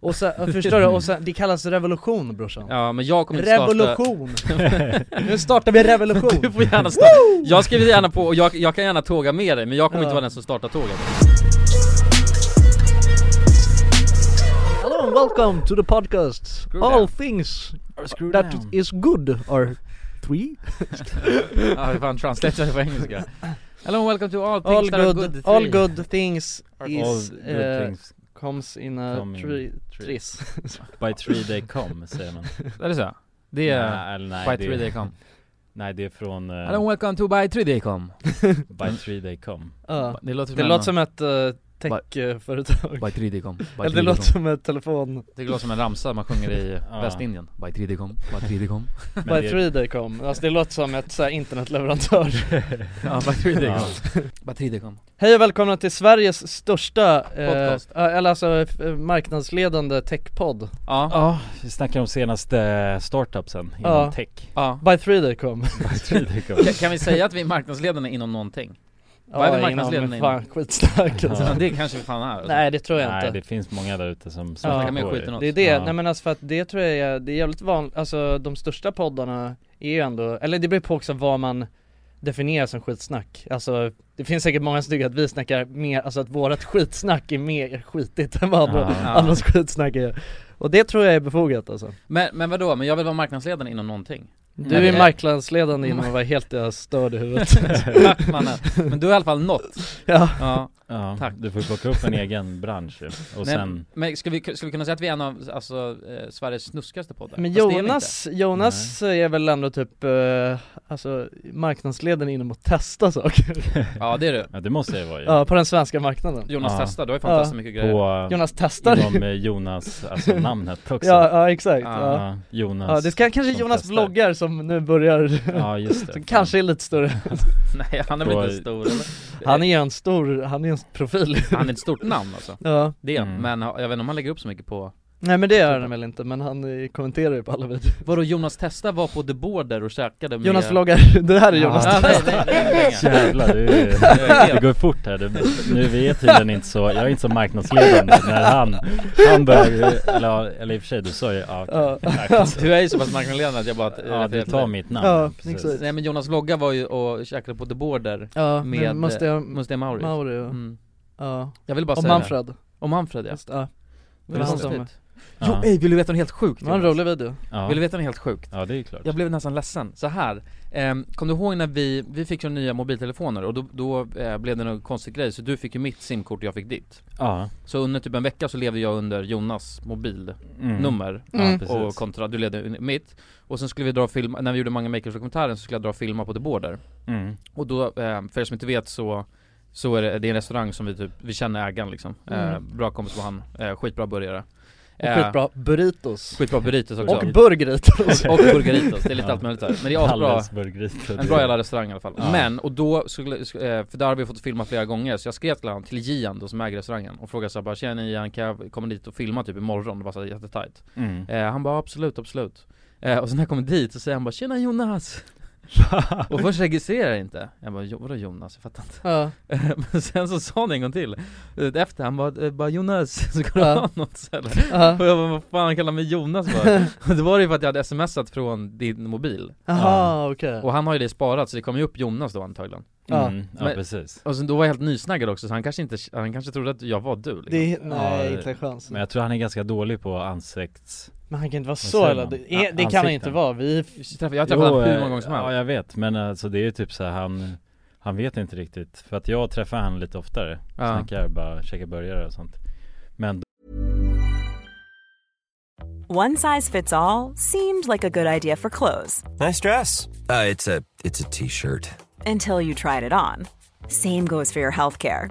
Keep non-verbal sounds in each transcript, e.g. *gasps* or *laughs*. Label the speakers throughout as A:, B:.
A: Och sen, förstår du? Och sen, det kallas revolution brorsan
B: Ja men jag kommer inte starta
A: Revolution! nu startar vi revolution!
B: *laughs*
C: *laughs*
B: Du får gärna starta, jag skriver gärna på och jag, jag kan gärna tåga med dig men jag kommer
A: Ja.
B: inte vara den som startar tåget
A: Hello and welcome to the podcast
B: Screw
A: All
B: them.
A: things
B: Screw
A: that
B: them.
A: is good are three
B: Ja hur fan translate det på engelska? Hello and welcome to all things
A: All
B: that are
A: good,
B: good
A: all
B: three.
A: good things
B: Are
A: is,
C: All good
A: eh,
C: things
A: comes in a
C: Come in
A: tree,
C: tree.
A: tris
C: *laughs*
A: *laughs*
C: by three they come säger man
B: Är det så? Det är
C: Nej, eller nej, *laughs*
B: by
C: det-
B: three they come
C: Nej det är från eh,
B: Hello and welcome to by three they come
C: By three they come
A: Ja,
B: Det låter
A: Det låter som ett uh, techföretag
B: By three they come, by
A: Eller
B: three
A: det
B: they
A: låter
B: come
A: som ett telefon
B: Det låter som en ramsa man sjunger i
C: Ja.
B: Västindien By three they come, by three they come
C: Men
A: By
C: det-
A: three they come, alltså det låter som ett så här, internetleverantör
B: Ja by three they
C: Ja.
B: come By three they come
A: Hej och välkomna till Sveriges största, eh,
B: Podcast.
A: eh, eller alltså f- eh, marknadsledande techpodd
B: Ja,
C: Ja, vi snackar om senaste eh, startupsen inom
A: Ja.
C: tech
B: ja
A: By three they come
C: *laughs* By three they
A: *laughs*
C: come
B: Kan- Kan vi säga att vi är marknadsledande inom någonting? Vad är vi
A: inom-
B: marknadsledande
A: Fan skitstark alltså.
B: Men det kanske vi fan är
A: *laughs*
B: alltså.
A: Nej det tror jag
C: Nej
A: inte
C: det finns många där ute som
B: Snackar
A: Ja.
B: mer
C: på
B: skit
C: det.
B: än oss
A: Det är det,
C: Ja.
A: nej men alltså för att det tror jag är, det är jävligt vanligt, alltså de största poddarna är ju ändå, eller det beror på också vad man definierar som skitsnack Alltså det finns säkert många som tycker att vi snackar mer, alltså att vårat skitsnack är mer skitigt än vad andra,
C: Ja.
A: andras skitsnack är Och det tror jag är befogat alltså
B: Men, men vadå, men jag vill vara marknadsledande
A: *laughs*
B: inom någonting?
A: Du
B: Nej,
A: är
B: det-
A: marknadsledande inom att vara helt jag störd i huvudet
B: Mannen. Men du har i alla fall nått
A: Ja,
B: ja.
C: Ja,
B: Tack.
C: du får
A: *laughs*
C: plocka upp en egen bransch ju. och
B: Nej,
C: sen
B: Men ska vi, ska vi kunna säga att vi är en av alltså, eh, Sveriges snuskigaste poddar?
A: men
B: Fast det är vi inte.
A: Jonas, Jonas är väl ändå typ, eh, alltså marknadsledande inom att testa saker
B: Ja det är du
C: Ja det måste jag vara ju
A: Ja, på den svenska marknaden
B: Jonas
C: Ja.
B: testar, du har ju fan
A: Ja.
B: testat mycket grejer
C: På
A: Jonas testar *laughs*
C: inom eh, Jonas, alltså namnet också
A: Ja, ja exakt ja.
C: Ja, Jonas
A: Ja, det ska, kanske
C: som
A: Jonas
C: testar.
A: vloggar som nu börjar,
C: Ja just
A: *laughs*
C: det
A: som kanske är lite större
B: *laughs* Nej han är väl
C: På-
B: inte stor eller?
A: Han är en stor, han är en profil
B: Han är ett stort namn alltså,
A: Ja,
B: det är han.
C: Mm.
B: men jag vet inte om han lägger upp så mycket på
A: nej men det gör han väl inte men han eh, kommenterar ju på alla videor
B: Vadå Jonas Testa var på The Border och käkade med
A: Jonas vloggar, *laughs* det här är
C: Ja.
A: Jonas
B: Ja, nej, nej, nej, nej, nej.
A: *laughs*
C: Jävlar, du, det går fort här. Du, nu är vi tydligen inte så, jag är inte så marknadsledande när han, han börjar, eller, ja, eller i och för sig du sa ju, ja,
A: Ja.
B: *laughs*
C: exakt.
B: Du är ju så pass marknadsledande att jag bara
C: ja du tar mitt namn.
A: Ja,
C: precis.
A: exakt.
B: Nej men Jonas vlogga var ju och käkade på The Border
A: Ja,
B: Med,
A: med, måste jag,
C: eh,
B: Måste jag Mauri?
A: Mauri ja,
B: Mm.
A: ja.
B: Jag vill bara
A: och
B: säga
A: Manfred,
B: det Om Manfred ja,
A: just det, ja.
B: det var
A: Just
B: han
C: typ
A: det.
B: som
A: Ja.
B: Jo ey, vill du veta något helt sjukt?
A: Det var en
B: Jonas?
A: rolig video
C: ja,
B: Vill du veta något helt sjukt?
C: ja det är ju klart.
B: Jag blev nästan ledsen, så här. Ehm, kom du ihåg när vi, vi fick ju nya mobiltelefoner och då, då eh, blev det någon konstig grej så du fick ju mitt simkort och jag fick ditt
C: Ja.
B: Så under typ en vecka så levde jag under Jonas mobilnummer
C: Mm.
A: Mm.
C: Ja, precis.
B: och kontra, du levde under mitt Och sen skulle vi dra och filma, när vi gjorde Mange Makers-dokumentären så skulle jag dra och filma på The Border
C: Mm.
B: Och då, eh, för er som inte vet så så är det, det är en restaurang som vi typ, vi känner ägaren liksom, eh,
A: Mm.
B: bra kompis med han, eh, skitbra burgare
A: Och skitbra burritos
B: Skitbra burritos också
A: Och
C: *laughs*
A: burgritos
B: *laughs* och burgaritos, det är lite
C: Ja.
B: allt möjligt där. Men det är asbra,
C: Halles burgergryta.
B: en bra jävla restaurang i alla fall.
C: Ja.
B: Men, och då, skulle, sk- eh, för där har vi fått filma flera gånger, så jag skrev till han, till Gian då som äger restaurangen och frågade såhär bara Tjena Gian, kan jag komma dit och filma typ imorgon? Det var såhär jättetajt.
C: Mm.
B: Eh, han bara absolut, absolut. Eh, och sen när jag kommer dit så säger han bara Tjena Jonas! Eh.
C: *laughs*
B: och först registrerar jag inte. Jag bara "Jo, vadå Jonas? Jag fattar inte. *laughs*
A: Ja,
B: Men sen så sa han en gång till, eh, efter han bara, eh, bara Jonas, *laughs* så går
A: Ja.
B: han åt ställe.
A: ja,
B: Och jag bara, vad fan han kallar mig Jonas
A: *laughs*
B: för? Och det var det ju för att jag hade smsat från din mobil
A: jaha okej
B: Och han har ju det sparat så det kommer ju upp Jonas då antagligen
A: Ja.
C: Mm. Ja,
B: Men-
C: precis.
B: Och sen då var jag helt nysnaggad också så han kanske inte, han kanske trodde att jag var du liksom.
A: Det är, nej
C: Ja,
A: inte en chans
C: Men jag tror han är ganska dålig på ansikts...
A: Men han kan inte vara så
C: säger
A: jävla,
C: man?
A: det, är, det kan han
C: Ansikten.
A: inte vara, vi
B: Jag träffade- Jag har träffat honom hur många
C: eh,
B: gånger som
C: Ja
B: helst
C: jag vet, men alltså det är ju typ så här, han Han vet inte riktigt, för att jag träffar han lite oftare
B: Ja.
C: Snackar bara, käkar burgare och sånt Men
D: One size fits all seemed like a good idea for clothes
E: Nice dress. Uh, it's a it's a t-shirt.
D: until you tried it on. Same goes for your healthcare.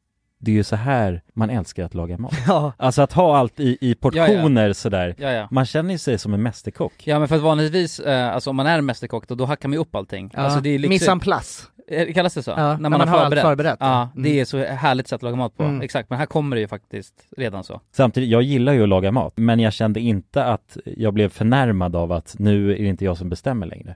C: det är ju så här man älskar att laga mat.
A: Ja.
C: Alltså att ha allt i, i portioner sådär.
B: Ja ja
C: Man känner ju sig som en mästerkock.
B: Ja men för att vanligtvis, eh, alltså om man är mästerkock då, då hackar man ju upp allting
A: ja.
B: Alltså det är liksom,
A: Missan plus.
B: Eh, kallas det så?
A: Ja, när man har allt förberett,
B: Ja,
A: ja.
B: det
A: Mm.
B: är så härligt sätt att laga mat på,
A: Mm.
B: exakt, men här kommer det ju faktiskt redan så
C: Samtidigt, jag gillar ju att laga mat, men jag kände inte att jag blev förnärmad av att nu är det inte jag som bestämmer längre.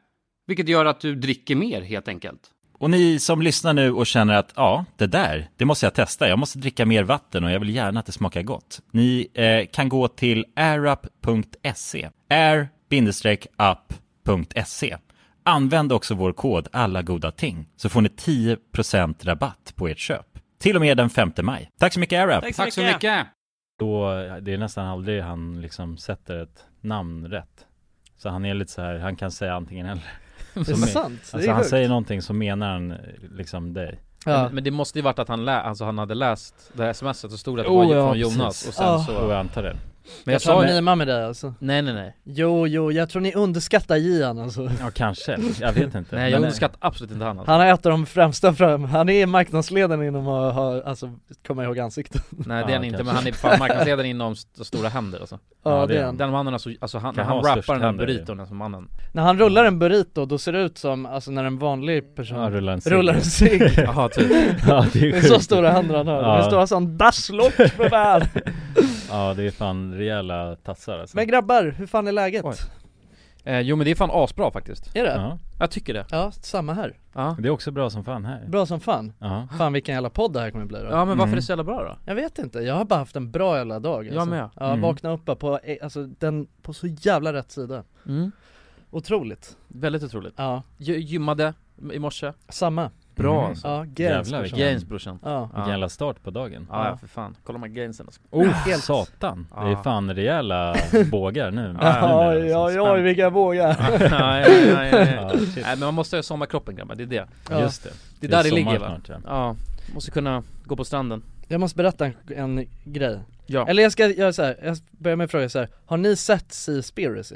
F: vilket gör att du dricker mer helt enkelt.
C: Och ni som lyssnar nu och känner att ja, det där, det måste jag testa. Jag måste dricka mer vatten och jag vill gärna att det smakar gott. Ni eh, kan gå till airup.se, air-up.se. Använd också vår kod alla goda ting så får ni 10% rabatt på ert köp. Till och med den 5 maj. Tack så mycket Airup!
F: Tack så mycket!
G: Då, det är nästan aldrig han liksom sätter ett namn rätt. Så han är lite så här, han kan säga antingen eller.
A: Det är
G: Som är-
A: sant, det
G: Alltså
A: är
G: han
A: sjukt.
G: säger någonting så menar han eh, liksom dig.
A: ja.
B: Men, men det måste ju varit att han, lä- alltså, han hade läst det här smset och stod att det
A: Oh,
B: var
A: ja,
B: från Jonas
G: precis.
B: och sen
A: Ja.
B: så...
G: Och jag antar det.
B: Men
A: Jag
B: jag sa
A: tar
B: ju...
A: mima med dig alltså
B: Nej nej nej,
A: Jo, jo, jag tror ni underskattar Gian alltså
G: Ja kanske, jag vet inte.
B: nej jag
G: Men, eh,
B: underskattar absolut inte han alltså.
A: Han är ett av de främsta fram, han är marknadsledaren inom att ha, alltså, komma ihåg ansikten
B: Nej det
G: Ja,
B: är han inte,
G: kanske.
B: men han är fan marknadsledare inom st- stora händer alltså.
A: Ja,
G: Ja,
A: det är han
B: Den mannen alltså, alltså han,
G: Kan
B: han
G: ha störst
B: rappar den här
G: händer,
B: burriton alltså mannen
G: *laughs*
A: När han rullar en burrito, då ser det ut som, alltså när en vanlig person
G: Ja, rullar en cigg.
A: rullar en
G: *laughs*
A: cigg
B: Ja typ,
G: Ja det
A: Det
G: är
A: är så
G: sjukt.
A: stora händer han har,
G: Ja.
A: det står sån dasslock för
G: *laughs*
A: världen
G: Ja det är fan rejäla tassar alltså.
A: Men grabbar, hur fan är läget?
B: Oj. eh, jo men det är fan asbra faktiskt
A: Är det? Ja.
G: Ja,
B: Jag tycker det,
A: samma här.
B: ja
G: det är också bra som fan här.
A: Bra som fan.
G: Ja.
A: Fan vilken jävla podd det här kommer bli då.
B: Ja men varför
G: Mm.
B: är det så jävla bra då?
A: Jag vet inte, jag har bara haft en bra jävla dag alltså.
B: Jag med.
A: Ja,
G: Mm.
A: vakna upp bara på, eh, alltså den, på så jävla rätt sida
B: Mm.
A: Otroligt
B: Väldigt otroligt
A: Ja,
B: Gy- Gymmade i morse,
A: samma
B: bra
G: Mm.
B: alltså
A: Ja, gains
G: Jävlar vilken,
B: Gains brorsan
A: Ja,
B: Ja.
G: vilken jävla start på dagen.
B: Ja, ja för fan, kolla de här gainsen
G: *laughs*
B: alltså.
G: Oh,
A: Helt-
G: satan. Det
B: Ja.
G: är fan rejäla bågar nu.
A: ja,
G: Nu är det
A: ja,
G: liksom
A: ja, vilka vågar!
B: nej, nej, nej, nej.
G: spänt. Ja, shit.
B: nej men man måste ha sommarkroppen grabbar, det är det
A: Ja.
G: Just det.
B: Det är där det
G: sommar
B: ligger, va?
G: snart, ja.
B: Ja, måste kunna gå på stranden
A: Jag måste berätta en, en grej
B: Ja,
A: Eller jag ska göra så här. jag börjar med att fråga så här. har ni sett Seaspiracy?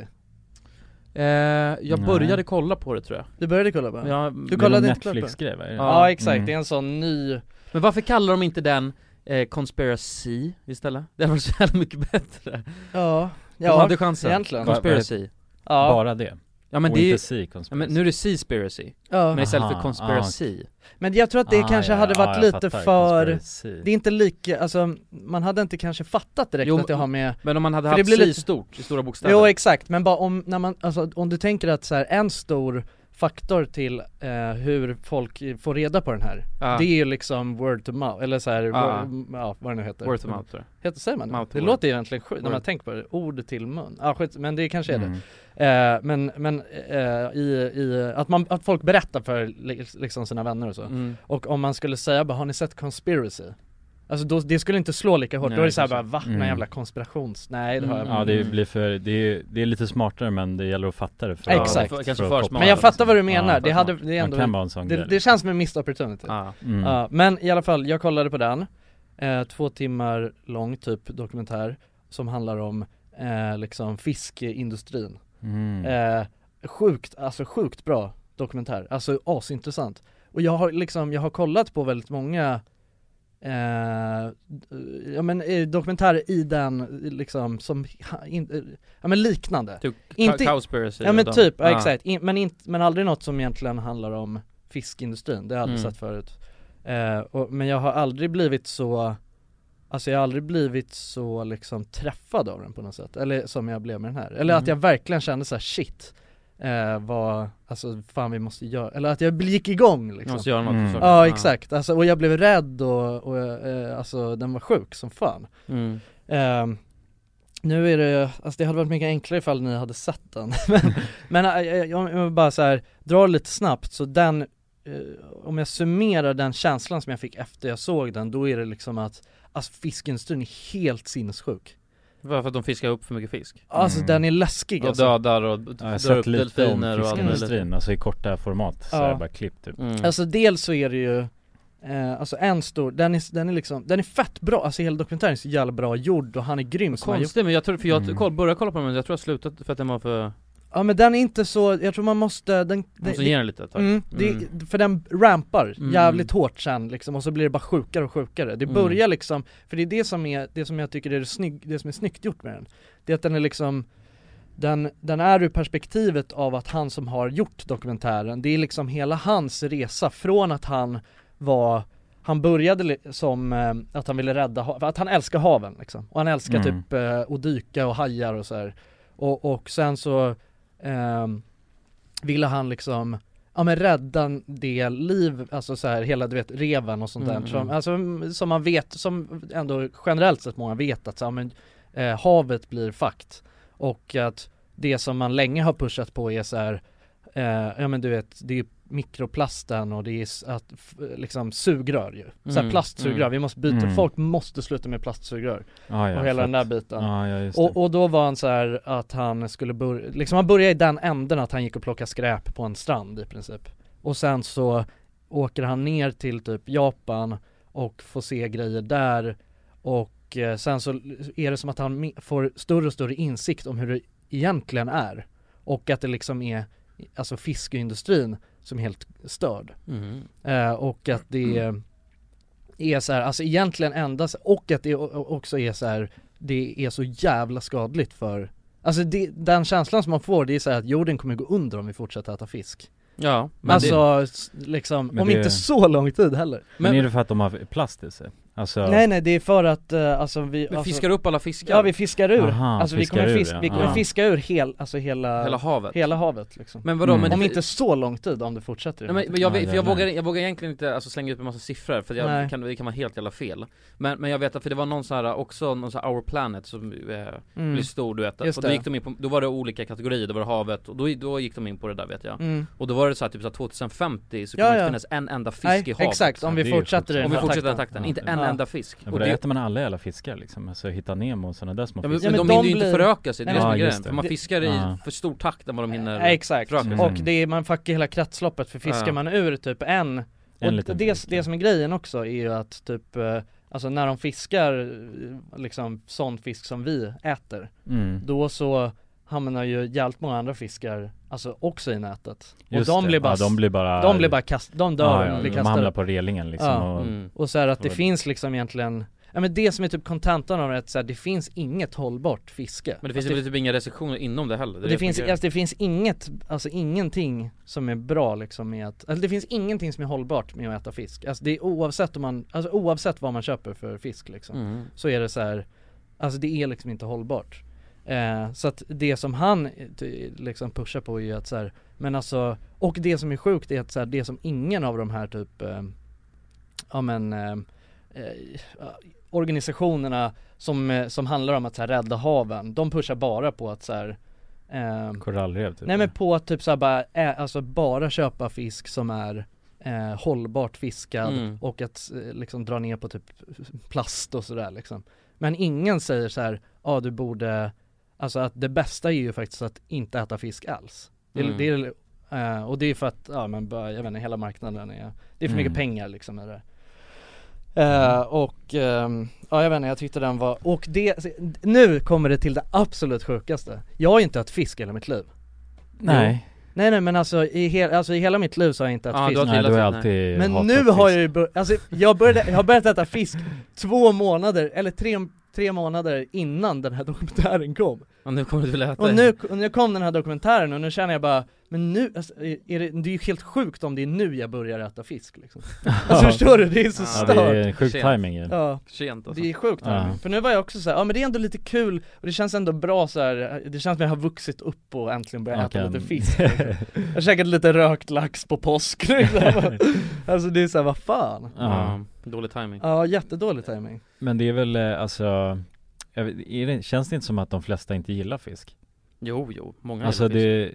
B: eh, jag
G: Nej.
B: började kolla på det tror jag
A: Du började kolla på den?
B: Ja,
A: Du
G: Det är
A: kollade
G: någon
A: inte klart på den?
G: Netflix-grej va? Är det?
B: Ja.
A: Ja exakt,
G: Mm.
A: det är en sån ny
B: Men varför kallar de inte den eh, Conspiracy istället? Det hade varit så jävla mycket bättre
A: Ja,
B: De
A: ja,
B: hade chansen
A: egentligen.
B: Conspiracy
A: ja,
G: Bara det?
B: Ja men
G: och
B: det är ju,
G: inte sea
B: ja,
G: conspiracy?
B: men nu är det Seaspiracy
A: ja.
B: Men istället
A: ah,
G: Aha,
B: för Conspiracy
A: Men jag tror att det
G: Ah,
A: kanske
G: ja,
A: hade
G: ja,
A: varit
G: jag
A: lite
G: fattar.
A: för
G: Conspiracy.
A: Det är inte lika, alltså man hade inte kanske fattat direkt
B: Jo,
A: att det har med
B: Men om man hade
A: För det
B: haft
A: blir
B: Sea
A: lite-
B: stort, i stora bokstäver
A: Jo exakt, men bara om, när man, alltså, om du tänker att så här, en stor faktor till eh, hur folk i- får reda på den här
B: Ja.
A: Det är ju liksom word to mouth, eller så här,
B: Ja.
A: word, ja vad det nu heter
B: Worth of mouth tror jag
A: heter, Säger man det?
B: Mouth to
A: Det
B: word.
A: låter ju egentligen sjukt när
B: Word.
A: man tänker på det, ord till mun, ja skit, men det kanske är det
G: Mm.
A: Eh, men, men eh, i, i, att, man, att folk berättar för li- liksom sina vänner och så.
B: Mm.
A: Och om man skulle säga bara, har ni sett Conspiracy? Alltså då, det skulle inte slå lika hårt,
B: Nej,
A: då är det såhär bara,
B: kanske.
A: va? Någon
G: Mm.
A: jävla konspirations... Nej det har jag
B: Mm.
A: inte.
G: Ja det blir för, det är, det är lite smartare men det gäller att fatta det för
A: Ja, Exakt.
B: för- kanske
G: för att
B: för
G: koppla-
B: smart.
A: Men jag fattar vad du menar,
G: Ja,
A: det, hade, det är
G: Man kan
A: ändå,
G: vara en sån
A: det,
G: grej
A: det känns som en missed opportunity
B: Ja.
G: mm.
A: Ja, Men i alla fall, jag kollade på den, eh, två timmar lång typ dokumentär som handlar om eh, liksom fiskeindustrin
G: Mm.
A: Eh, sjukt, alltså sjukt bra dokumentär, alltså asintressant. Och jag har liksom, jag har kollat på väldigt många eh, d- ja men eh, dokumentärer i den liksom som, ha- in, eh, ja men liknande.
B: Typ
A: Inte-
B: inte... Cowspiracy
A: Ja men
B: och de-
A: typ, ja, exakt. In, men, inte men aldrig något som egentligen handlar om fiskindustrin, det har jag aldrig
B: Mm.
A: sett förut. Eh, och, men jag har aldrig blivit så, alltså jag har aldrig blivit så liksom träffad av den på något sätt, eller som jag blev med den här. Eller
B: Mm.
A: att jag verkligen kände så här shit, eh, vad, alltså fan vi måste göra, eller att jag gick igång
B: Jag
A: liksom.
B: måste göra något
G: Mm.
B: för saker.
A: Ja exakt, alltså, och jag blev rädd och, och eh, alltså den var sjuk som fan.
B: Mm.
A: Ehm, nu är det, alltså det hade varit mycket enklare ifall *laughs* ni hade sett den Men, men eh, jag, jag, jag vill bara så här, dra lite snabbt så den eh, om jag summerar den känslan som jag fick efter jag såg den, då är det liksom att alltså, fiskindustrin är helt sinnessjuk.
B: Varför för att de fiskar upp för mycket fisk?
A: Alltså
G: Mm.
A: den är läskig
B: Och
A: alltså.
B: dödar och
G: Ja, jag har
B: drar upp
G: sett lite om
B: delfiner och allt möjligt
G: fiskindustrin, alltså i korta format, så
A: Ja.
G: här, bara klipp typ
B: Mm.
A: Alltså dels så är det ju Eh, alltså en stor, den är, den är liksom, den är fett bra, alltså hela dokumentären är så jävla bra gjord och han är grym som har gjort
B: Konstigt men jag tror, för jag
G: Mm.
B: koll, började kolla på den men jag tror jag slutade för att den var för,
A: Ja men den är inte så, jag tror man måste, den, det-
B: måste ge den lite ett
A: det,
B: tag
A: mm, det, för den rampar
B: Mm.
A: jävligt hårt sen liksom och så blir det bara sjukare och sjukare Det
B: Mm.
A: börjar liksom, för det är det som är, det som jag tycker är det, snygg, det som är snyggt gjort med den Det är att den är liksom den, den är ur perspektivet av att han som har gjort dokumentären, det är liksom hela hans resa från att han var han började li- som eh, att han ville rädda, ha- för att han älskar haven liksom. Och han älskar
G: Mm.
A: typ eh, att dyka och hajar och så här. Och, och sen så ehm, ville han liksom Ja men rädda det liv, alltså så här hela du vet reven och sånt
B: Mm,
A: där som,
B: mm.
A: alltså, som man vet, som ändå generellt sett många vet att så, ja, men, eh, havet blir fakt och att det som man länge har pushat på är så här, eh, ja men du vet, det är ju mikroplasten och det är s- att, f- liksom sugrör ju. Så här
B: Mm,
A: plastsugrör,
B: mm.
A: vi måste byta,
G: Mm.
A: folk måste sluta med plastsugrör
G: ah, ja,
A: och hela den där
G: fett.
A: biten.
G: Ja, ja just det
A: Och, och då var han så här att han skulle börja, liksom han började i den änden att han gick och plockade skräp på en strand i princip. Och sen så åker han ner till typ Japan och får se grejer där och eh, sen så är det som att han me- får större och större insikt om hur det egentligen är. Och att det liksom är, alltså fiskeindustrin som är helt störd.
B: Mm.
A: Eh, och att det är så här, alltså egentligen endast, och att det o- o- också är så här, det är så jävla skadligt för Alltså det, den känslan som man får det är så här att jorden kommer gå under om vi fortsätter äta fisk
B: Ja, men det,
A: Alltså s- liksom,
G: men
A: om
G: det-
A: inte så lång tid heller
G: Men,
B: men-
G: är det för att de har plast i sig? Alltså,
A: Nej nej det är för att, eh, alltså vi
B: vi
A: alltså,
B: fiskar upp alla fiskar,
A: Ja vi fiskar ur,
G: Aha,
A: alltså vi
G: fiskar
A: kommer,
G: ur,
A: fisk,
G: ja.
A: vi kommer
G: Ja.
A: fiska ur hel, alltså hela,
B: hela
A: hela,
B: havet
A: havet liksom
B: Men vadå,
G: Mm.
B: men
A: Om inte så lång tid om det fortsätter i
B: Nej,
A: den här
B: men, men jag,
G: Ja,
B: vet, för jag,
G: jävlar.
B: vågar, jag vågar egentligen inte alltså, slänga ut en massa siffror för jag
A: Nej.
B: kan, det kan vara helt jävla fel Men, men jag vet att, för det var någon sån här, också någon sån här Our Planet som eh,
A: tiden. mm.
B: blev stor du vet
A: Just
B: Och då
A: det.
B: gick de in på, då var det olika kategorier, då var det havet och då, då gick de in på det där vet jag
A: Mm.
B: Och då var det så här, typ så här 2050 så
A: Ja,
B: kommer det
A: ja.
B: inte finnas en enda fisk
A: Nej,
B: i havet liksom.
A: exakt, om
G: Ja,
A: vi
G: det är ju
A: fortsätter i
G: sjukt.
A: den
B: Om vi
A: här
B: fortsätter den
A: takten.
B: takten, inte
G: Ja.
B: en
A: Ja.
B: enda fisk
G: Ja,
B: Och
G: för då
B: det-
G: äter man alla jävla fiskar liksom, alltså hitta Nemo och sådana där små
B: Ja, men,
G: fiskar
A: Ja, men
B: men de, hinner
A: de
B: ju inte
A: blir-
B: föröka sig, det är det
G: Ja,
B: som är grejen.
G: just det.
B: För man fiskar i
G: Ja.
B: för stor takt än vad de hinner
A: Eh, Exakt,
B: föröka sig.
G: Mm.
A: och det är, man fuckar hela kretsloppet för fiskar
B: Ja.
A: man ur typ en,
G: En
A: och
G: liten
A: det,
G: fisk, ja.
A: det som är grejen också är ju att typ eh, Alltså när de fiskar eh, liksom sån fisk som vi äter
G: mm.
A: Då så hamnar ju jävligt många andra fiskar Alltså också i nätet
G: Just
A: Och de
G: det.
A: blir bara,
G: ja, de blir bara,
A: de blir bara kast, de dör
G: ja,
A: och
G: ja,
A: blir
G: De hamnar
A: kastade
G: på relingen liksom
A: Ja.
G: och,
B: Mm.
A: Och så här att det
G: Vad-
A: finns liksom egentligen Ja men det som är typ kontentan av det är att så här, det finns inget hållbart fiske
B: Men det finns
A: alltså,
B: väl typ inga restriktioner inom det heller?
A: Och det
B: är som är
A: finns,
B: grejen.
A: alltså det finns inget, alltså ingenting som är bra liksom med att, alltså det finns ingenting som är hållbart med att äta fisk. Alltså det är oavsett om man, alltså oavsett vad man köper för fisk liksom,
B: Mm.
A: så är det så här, alltså det är liksom inte hållbart. Eh, så att det som han eh, ty- liksom pushar på är ju att så här, men alltså, och det som är sjukt är att så här, det som ingen av de här typ, eh, ja men, eh, eh, organisationerna som, eh, som handlar om att så här, rädda haven, de pushar bara på att så här, ehm,
G: korallrev typ
A: Nej men på att typ såhär bara, ä, alltså bara köpa fisk som är eh, hållbart fiskad
B: Mm.
A: och att eh, liksom dra ner på typ plast och sådär liksom. Men ingen säger så här, ja ah, du borde, alltså att det bästa är ju faktiskt att inte äta fisk alls. Det, är-
B: Mm.
A: det är, eh, och det är för att, ja men bara, jag vet inte, hela marknaden är, det är för mycket
G: Mm.
A: pengar liksom i det där. Eh, och, ehm, ja jag vet inte, jag tyckte den var, och det, nu kommer det till det absolut sjukaste. Jag har ju inte ätit fisk i hela mitt liv.
G: Nej,
A: Nej nej men alltså i, he- alltså, i hela mitt liv så har jag inte ätit
B: Ja, du
A: fisk
B: har-
G: nej du har
B: Nej.
G: alltid
A: Men
G: hatat
A: nu har
G: fisk.
A: jag ju bör- alltså, jag, började, jag har börjat äta fisk två månader, eller tre, tre månader innan den här dokumentären kom
B: Ja, nu kommer du vilja äta
A: Och
B: det.
A: nu, och nu kom den här dokumentären och nu känner jag bara Men nu, alltså, är det, det är ju helt sjukt om det är nu jag börjar äta fisk liksom
G: *laughs*
A: Alltså förstår du? Det är så
B: Ja,
G: Ja, det är
A: stört
G: en sjuk
B: Sent.
G: timing ju
A: Ja,
B: Sent alltså.
A: det är sjukt
G: Ja.
A: För nu var jag också såhär, ja men det är ändå lite kul och det känns ändå bra så här. det känns som jag har vuxit upp och äntligen börjat
G: Man
A: äta
G: kan-
A: lite fisk liksom. Jag käkade lite rökt lax på påsk liksom. Alltså det är såhär, vad fan?
G: ja.
B: Dålig timing.
A: Ja, jättedålig timing.
G: Men det är väl eh, alltså jag vet, är det, Känns det inte som att de flesta inte gillar fisk?
B: Jo, jo, många
G: Alltså
B: det,
G: det,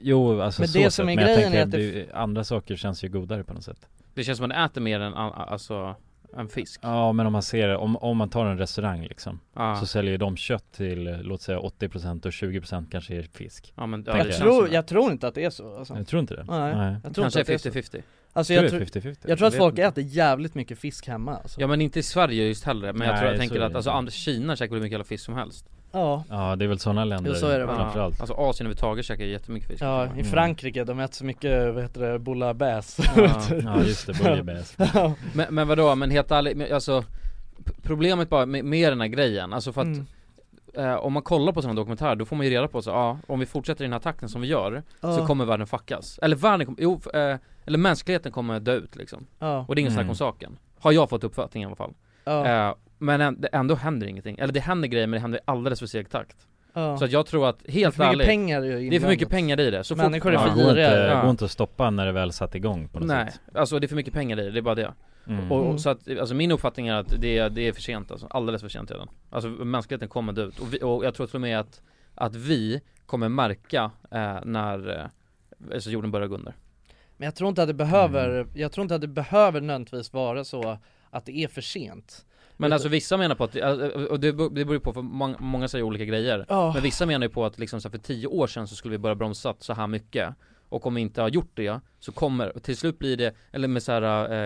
G: jo alltså
A: Men
G: så
A: det
G: sett,
A: som är
G: men jag
A: grejen
G: tänker
A: är
G: att
A: att det-
G: det, andra saker känns ju godare på något sätt
B: det känns som att man äter mer än an- alltså, en fisk
G: Ja men om man ser, om, om man tar en restaurang liksom
B: Ja,
G: Så säljer de kött till, eh, låt säga 80% och 20% kanske är fisk
B: ja men ja,
G: Jag
B: det
A: Jag
B: känns
A: tror,
B: som det.
A: jag tror inte att det är så alltså.
G: Jag tror inte det
A: Nej. Jag tror
B: Kanske
A: inte att det är så.
B: 50-50
A: Alltså
G: Tror
A: jag,
G: det
A: tror-
G: är 50-50
A: jag tror att
B: Jag vet
A: folk
B: inte.
A: äter jävligt mycket fisk hemma alltså.
B: Ja men inte i Sverige just heller, men jag
G: Nej,
B: tror jag
G: så
B: tänker
G: är det
B: att alltså,
G: inte.
B: andra, Kina käkar hur mycket jävla fisk som helst
A: Ja,
G: Ja det är väl sådana länder
A: Jo, så är det väl.
G: framförallt
B: Alltså Asien överhuvudtaget käkar jättemycket fisk
A: ja i Frankrike, de äter så mycket, vad heter det, bouillabaisse
B: Ja.
G: Ja
A: *laughs*
G: just det, buljebäs
B: Men, men vadå, men helt ärligt, men alltså p- Problemet bara med, med den här grejen, alltså för att
A: Mm.
B: eh, om man kollar på sådana dokumentärer då får man ju reda på så ja, om vi fortsätter i den här takten som vi gör så
A: Ja,
B: kommer världen fuckas. Eller världen kommer, jo, f- eh, eller mänskligheten kommer dö ut liksom.
A: ja,
B: Och det är ingen
G: Mm.
B: snack om saken. Har jag fått uppfattningen i alla fall.
A: ja,
B: Eh, men än- det- ändå händer ingenting. Eller det händer grejer men det händer i alldeles för seg takt.
A: ja.
B: Så att jag tror att,
A: Det är
B: helt
A: för mycket
B: ärligt,
A: pengar ju
B: det är för mycket
A: inblandat.
B: pengar i det. Så fort-
A: Människor är för
B: Ja.
G: det går inte,
A: giriga.
B: Ja.
G: går inte att stoppa när det väl satt igång på något
B: Nej,
G: sätt
B: alltså det är för mycket pengar i det, det är bara det.
G: mm.
B: Och,
A: Mm.
B: och så att, alltså min uppfattning är att det, är- det är för sent alltså, alldeles för sent redan Alltså mänskligheten kommer dö ut och, vi, och jag tror till och med att, att vi kommer märka eh, när eh, alltså jorden börjar gå under
A: Men jag tror inte att det behöver,
B: Mm.
A: jag tror inte att det behöver nödvändigtvis vara så att det är för sent
B: Men alltså vissa menar på att, eh, och det beror det beror ju på för många, många säger olika grejer
A: Ja,
B: Men vissa menar ju på att liksom så här, för tio år sedan så skulle vi börja bromsat så här mycket Och om vi inte har gjort det så kommer, till slut blir det, eller med så här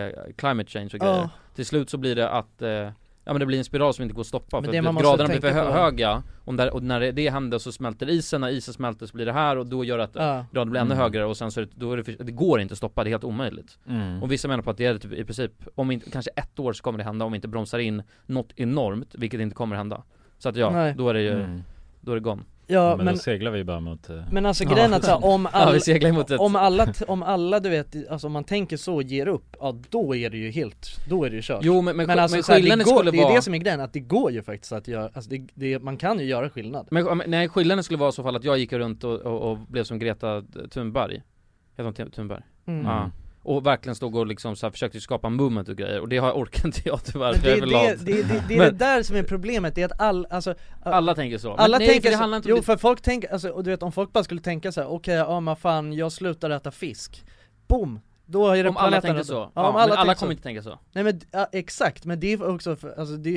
B: eh, climate change och grejer
A: ja,
B: Till slut så blir det att eh, Ja men det blir en spiral som inte går att stoppa
A: Men
B: för
A: det
B: att
A: man
B: man
A: måste
B: graderna blir för
A: tänka
B: hö-
A: på-
B: höga och, där, och när det, det händer så smälter isen, när isen smälter så blir det här och då gör det att
A: ja,
B: graden blir ännu
G: Mm.
B: högre och sen så är det, då är det, för, det går inte att stoppa, det är helt omöjligt
G: Mm.
B: Och vissa menar på att det är typ, i princip, om inte, kanske ett år så kommer det hända om vi inte bromsar in något enormt, vilket inte kommer hända Så att ja,
A: Nej.
B: då är det ju,
G: Mm.
B: då är det gone
A: ja
G: men,
A: men,
G: då seglar vi bara mot eh,
A: men alltså grejen är att så här, om
B: alltså- Ja
A: alla,
B: vi seglar mot ett,
A: om alla, t- om alla du vet, alltså om man tänker så och ger upp, ja då är det ju helt, då är det ju kört
B: jo men, men,
A: Men alltså
B: men
A: så här, det,
B: skillnaden
A: går,
B: skulle
A: det är
B: vara
A: det som är grejen, att det går ju faktiskt att göra, alltså det, det, man kan ju göra skillnad
B: Men men- nej, skillnaden skulle vara i så fall att jag gick runt och, och, och blev som Greta Thunberg Heter hon Thun- Thunberg?
A: Mm.
B: Ja. Och verkligen stod och liksom så här, försökte skapa movement och grejer och det har orkar inte jag tyvärr
A: Men
B: för
A: det,
B: jag
A: är
B: är för
A: det,
B: lat.
A: det, det, det är
B: Men-
A: det där som är problemet, det är att all, alltså,
B: Alla tänker så. Men
A: alla
B: nej,
A: tänker
B: för det
A: så-
B: handlar inte
A: Jo
B: om det.
A: för folk tänker, alltså, och du vet om folk bara skulle tänka så här: okej, ja men fan jag slutar äta fisk, boom! Då är det
B: Om alla
A: planeten
B: tänker
A: rädd.
B: så. Ja,
A: Ja, om
B: men
A: alla,
B: alla
A: tänker
B: kommer
A: så.
B: inte tänka så.
A: Nej men ja, exakt, men det är också för, alltså det,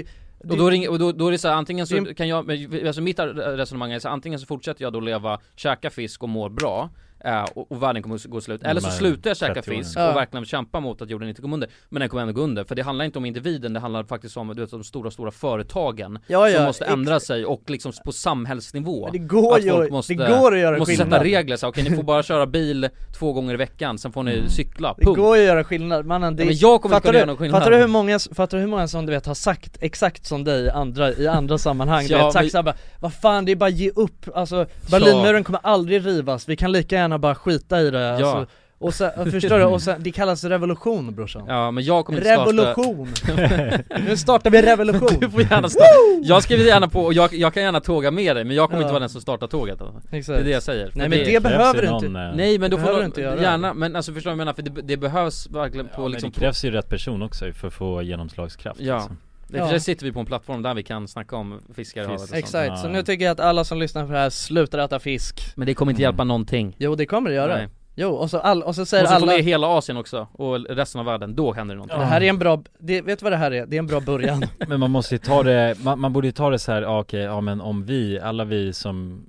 A: det
B: Och då, ringer, och då, då är det så här, antingen så
A: Det-
B: kan jag, men, alltså mitt resonemang är så här, antingen så fortsätter jag då leva, käka fisk och mår bra eh, och, och världen kommer att gå slut. Eller så
G: De här
B: slutar jag käka
G: 30 åren.
B: fisk
A: Ja.
B: och verkligen kämpa mot att jorden inte går under. Men den kommer ändå gå under. För det handlar inte om individen, det handlar faktiskt om du vet, de stora, stora företagen
A: ja, ja,
B: som måste
A: ex-
B: ändra sig och liksom på samhällsnivå.
A: men det går
B: att
A: ju,
B: folk
A: att-
B: måste-
A: det går att göra
B: måste
A: skillnad
B: sätta regler så här, okej ni får bara köra bil två gånger i veckan, sen får ni cykla,
A: Mm. Det
B: punkt.
A: går ju att göra skillnad, mannen det
B: Ja, men jag kommer inte
A: fattar
B: kunna
A: du,
B: göra någon skillnad.
A: Fattar du hur många, fattar du hur många som du vet har sagt exakt som dig i andra, i andra sammanhang?
B: Ja,
A: du vet, sagt
B: men-
A: såhär bara, vad fan det är bara ge upp, alltså Berlinmuren kommer aldrig rivas, vi kan lika gärna bara skita i det
B: Ja.
A: alltså. Och sen, förstår du? Och sen, det kallas revolution brorsan
B: Ja men jag kommer inte starta
A: Revolution!
B: *laughs*
A: nu startar vi
B: Du
A: revolution!
B: får gärna starta, jag skriver gärna på och jag, jag kan gärna tåga med dig men jag kommer
A: Ja.
B: inte vara den som startar tåget alltså. Det
A: Exakt.
B: är det jag säger För
A: Nej men det,
G: krävs
A: behöver
G: ju
A: du inte
G: någon, eh,
B: Nej men då
A: Det
B: får
A: behöver
B: du
A: du inte göra.
B: gärna, men alltså förstår du vad jag menar? För det, det behövs verkligen
G: ja,
B: på
G: men
B: liksom
G: Det krävs ju rätt person också för att få genomslagskraft
B: Ja.
G: liksom.
B: på, i och för sig sitter vi på en plattform där vi kan snacka om fiskar och
G: Fisk.
B: havet och sånt.
A: Exakt, så
G: Ja.
A: nu tycker jag att alla som lyssnar på det här slutar äta fisk
B: Men det kommer inte
G: Mm.
B: hjälpa någonting
A: Jo det kommer det göra,
B: Nej.
A: jo och så, all, och så säger
B: Måste få
A: alla
B: med hela Asien också och resten av världen, då händer det någonting
A: Det här är en bra, det, vet du vad det här är? Det är en bra början
G: Men man måste ju ta det, man, man borde ju ta det så här, ja, okej, ja men om vi, alla vi som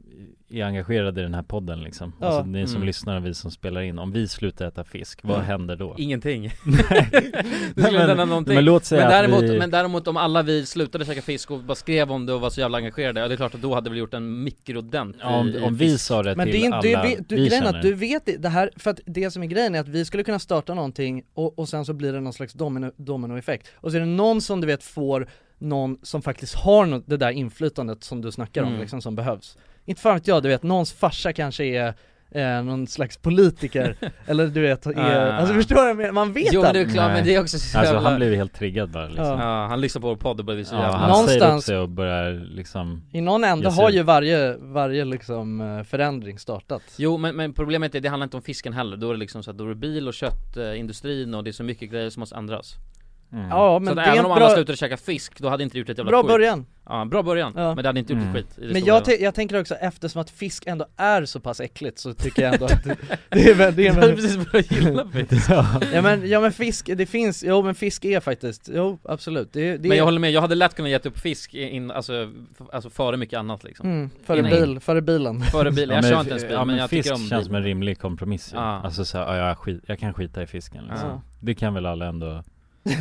G: är engagerade i den här podden liksom
A: Ja.
G: Alltså ni som
B: Mm.
G: lyssnar och vi som spelar in, om vi slutar äta fisk, vad händer då? *laughs*
B: Ingenting *laughs* Det
G: Nej,
B: skulle inte hända
G: men,
B: någonting
G: men låt säga
B: Men däremot,
G: att vi,
B: men däremot om alla vi slutade käka fisk och bara skrev om det och var så jävla engagerade, ja det är klart att då hade vi gjort en mikrodent
G: ja,
B: i,
G: om,
B: i
G: om vi
B: fisk.
G: sa det
A: Men det
G: till
A: är inte,
G: alla
A: du, vet- du,
G: vi
A: grejen är
G: känner
A: att du vet i- det här, för att det som är grejen är att vi skulle kunna starta någonting och, och sen så blir det någon slags domino, dominoeffekt Och så är det någon som du vet får någon som faktiskt har nå- det där inflytandet som du snackar om
B: Mm.
A: liksom som behövs Inte fan vet jag, du vet någons farsa kanske är Eh, någon slags
B: *laughs*
A: politiker, eller du vet, är,
B: Ah.
A: alltså förstår du? vad jag menar? Man vet
B: Jo men det
A: aldrig
B: är klart,
G: Nej.
B: men det är också så
G: Alltså
B: jävla...
G: han blev ju helt triggad bara liksom
A: Ja.
G: Ja,
B: Ja, han lyssnar på vår podd och blir så
G: han
B: jävla...
A: Någonstans-
G: säger upp sig och börjar liksom
A: I någon ände
G: Jag ser
A: har
G: det.
A: ju varje, varje liksom eh, förändring startat
B: Jo men, men problemet är, det handlar inte om fisken heller, då är det liksom så att då är det bil och köttindustrin och det är så mycket grejer som måste ändras
A: Ja
B: så
A: men
B: att
A: det är
B: även
A: en
B: om alla
A: bra,
B: slutade käka fisk, då hade det inte gjort ett jävla
A: bra
B: skit
A: början
B: Ja, bra början,
A: Ja.
B: men det hade inte gjort ett
C: Mm.
B: skit i det
A: Men
B: stora
A: jag,
B: hela.
A: te- jag tänker också eftersom att fisk ändå är så pass äckligt så tycker jag ändå att det, *laughs* det är väl, det är
B: Jag hade
A: väl
B: precis
A: *laughs*
B: börjat gilla fisk
A: ja, men, ja men fisk, det finns, jo men fisk är faktiskt, jo absolut det, det
B: Men jag
A: är,
B: håller med, jag hade lätt kunnat gett upp fisk in, alltså, f- alltså före mycket annat liksom
A: mm, före,
B: Nej.
A: bil, före bilen
B: Före bilen, jag
G: men-
B: kör inte ens bil
G: ja,
B: men, jag
G: fisk
B: tycker om
G: känns
B: bil.
G: som en rimlig kompromiss ju.
B: Ja.
G: Alltså så här, ja, jag, skit, jag kan skita i fisken liksom.
A: Ja.
G: Det kan väl alla ändå